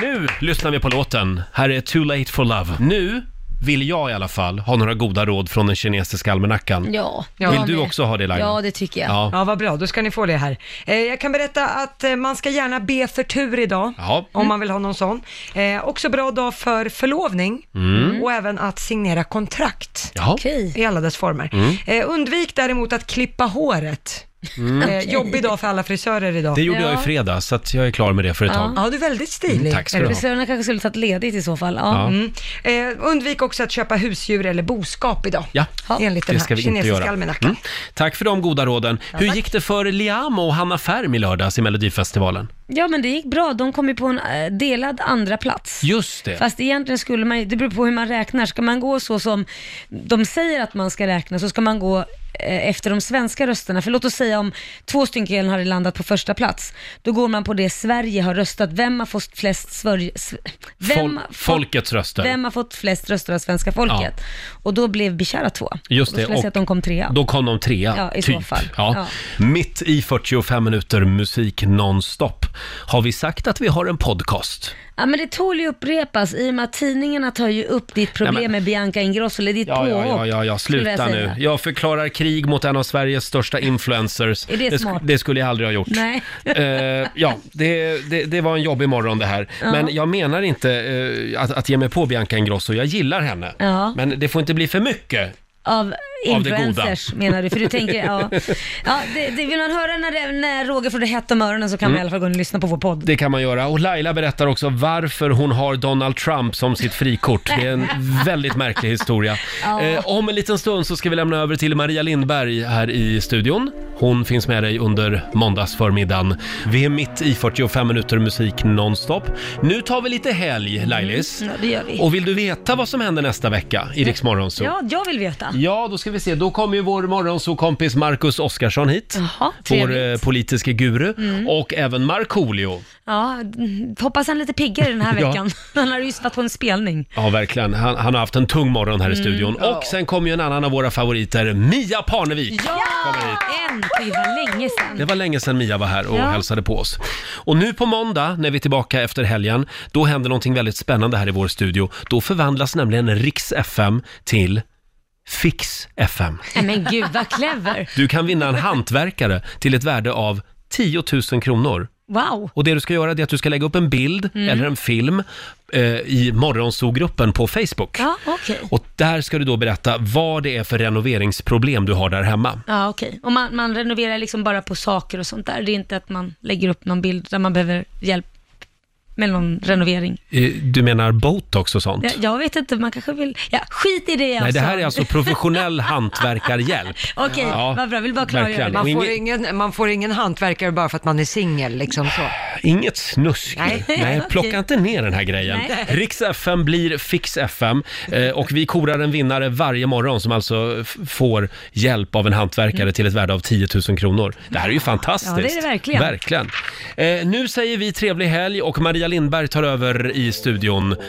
A: Nu lyssnar vi på låten. Här är Too Late For Love. Nu vill jag i alla fall ha några goda råd från den kinesiska almanackan.
B: Ja,
A: Vill du också ha det Laila?
C: Ja.
A: Ja.
C: vad bra. Då ska ni få det här. Eh, jag kan berätta att eh, man ska gärna be för tur idag,
A: Ja.
C: om man vill ha någon sån. Eh, också bra dag för förlovning
A: Mm.
C: och även att signera kontrakt i alla dess former.
A: Mm.
C: Eh, undvik däremot att klippa håret.
A: Mm.
C: Eh, jobbig dag för alla frisörer idag.
A: Det gjorde jag i fredags, så att jag är klar med det för ett tag.
C: Ja, du är väldigt stilig.
A: Mm, tack ska du ha.
B: Frisörerna kanske skulle tagit ledigt i så fall. Ja.
A: Ja.
C: Mm. Eh, undvik också att köpa husdjur eller boskap idag.
A: Ja,
C: enligt den
A: det ska
C: här
A: vi inte
C: kinesiska
A: göra.
C: almanackan.
A: Mm. Tack för de goda råden. Hur gick det för Liam och Hanna Färm i lördags i Melodifestivalen?
B: ja, men det gick bra. De kom ju på en eh, delad andra plats.
A: Just det.
B: Fast egentligen skulle man ju- det beror på hur man räknar. Ska man gå så som de säger att man ska räkna så ska man gå eh, efter de svenska rösterna. För låt oss säga om två stycken hade landat på första plats. Då går man på det Sverige har röstat. Vem har fått flest svör... sv- Vem,
A: Fol-
B: har fått-
A: folkets röster.
B: Vem har fått flest röster av svenska folket? Och då blev Bishara två.
A: Just
B: Och då skulle
A: det,
B: jag säga
A: och
B: att de kom trea.
A: Då kom de trea,
B: Ja, i så
A: typ.
B: fall.
A: Ja.
B: Ja.
A: Mitt i 45 minuter musik nonstop. Har vi sagt att vi har en podcast?
B: Ja men det tål ju upprepas i och med att tidningarna tar ju upp ditt problem
A: Ja, men-
B: med Bianca Ingrosso, eller ditt
A: Ja, ja,
B: påhopp.
A: ja, ja, ja.
B: skulle jag
A: sluta
B: säga.
A: nu. Jag förklarar krig mot en av Sveriges största influencers.
B: Är det
A: sk-
B: smart?
A: det skulle jag aldrig ha gjort.
B: Nej.
A: Eh, ja, det, det, det var en jobbig morgon det här.
B: Ja.
A: Men jag menar inte eh, att, att ge mig på Bianca Ingrosso. Jag gillar henne.
B: Ja.
A: Men det får inte bli för mycket.
B: Av
A: goda.
B: influencers menar du, för du tänker,
A: [LAUGHS]
B: ja. ja det, det vill man höra när, det- när Roger får det hett om öronen så kan man i
A: Mm.
B: alla fall gå in och lyssna på vår podd.
A: Det kan man göra. Och Laila berättar också varför hon har Donald Trump som sitt frikort.
B: [LAUGHS]
A: Det är en väldigt märklig historia.
B: Ja.
A: Eh, om en liten stund så ska vi lämna över till Maria Lindberg här i studion. Hon finns med dig under måndagsförmiddagen. Vi är mitt i 45 minuter musik nonstop. Nu tar vi lite helg, Lailis.
B: Mm, ja, det gör vi.
A: Och vill du veta vad som händer nästa vecka i Rix Morgon Zoo?
B: Ja, jag vill veta.
A: Ja, då ska vi se. Då kommer ju vår morgonsokompis Marcus Oskarsson hit.
B: Jaha,
A: vår
B: trevligt.
A: eh, politiske guru.
B: Mm.
A: Och även Markoolio.
B: Ja, mm, hoppas han är lite piggare den här
A: [LAUGHS] Ja.
B: veckan. [LAUGHS] Han har ju just varit på en spelning.
A: Ja, verkligen. Han, han har haft en tung morgon här i
B: Mm,
A: studion.
B: ja.
A: Och sen kom ju en annan av våra favoriter, Mia Parnevik.
B: Ja! Äntligen, det var länge sedan.
A: Det var länge sedan Mia var här och
B: Ja.
A: hälsade på oss. Och nu på måndag, när vi är tillbaka efter helgen, då händer någonting väldigt spännande här i vår studio. Då förvandlas nämligen Riks FM till Fix FM.
B: Nej, men gud vad clever.
A: Du kan vinna en hantverkare till ett värde av 10 000 kronor.
B: Wow.
A: Och det du ska göra det är att du ska lägga upp en bild
B: Mm.
A: eller en film eh, i morgonsogruppen på Facebook.
B: Ja, okej.
A: Och där ska du då berätta vad det är för renoveringsproblem du har där hemma.
B: Ja, okej. Och man, man renoverar liksom bara på saker och sånt där. Det är inte att man lägger upp någon bild där man behöver hjälp med någon renovering.
A: Eh, Du menar botox och sånt?
B: Jag, jag vet inte, man kanske vill... Ja, skit i det jag
A: Nej, det
B: sa.
A: här är alltså professionell hantverkarhjälp.
B: [LAUGHS] Okej, vad bra. Jag vill bara klargöra
A: Mm. verkligen.
B: det.
A: Och
C: Man får,
A: inget-
C: ingen, man får ingen hantverkare bara för att man är singel, liksom så.
A: Inget snusk.
C: Nej.
A: [LAUGHS] Nej,
C: Nej, okej.
A: plocka inte ner den här grejen.
C: Nej.
A: Riks FM blir Fix FM eh, och vi korar en vinnare varje morgon som alltså f- får hjälp av en hantverkare till ett värde av 10 000 kronor. Det här är ju fantastiskt.
B: Mm. Ja, det är det verkligen.
A: Verkligen. Eh, nu säger vi trevlig helg och Maria Lindberg tar över i studion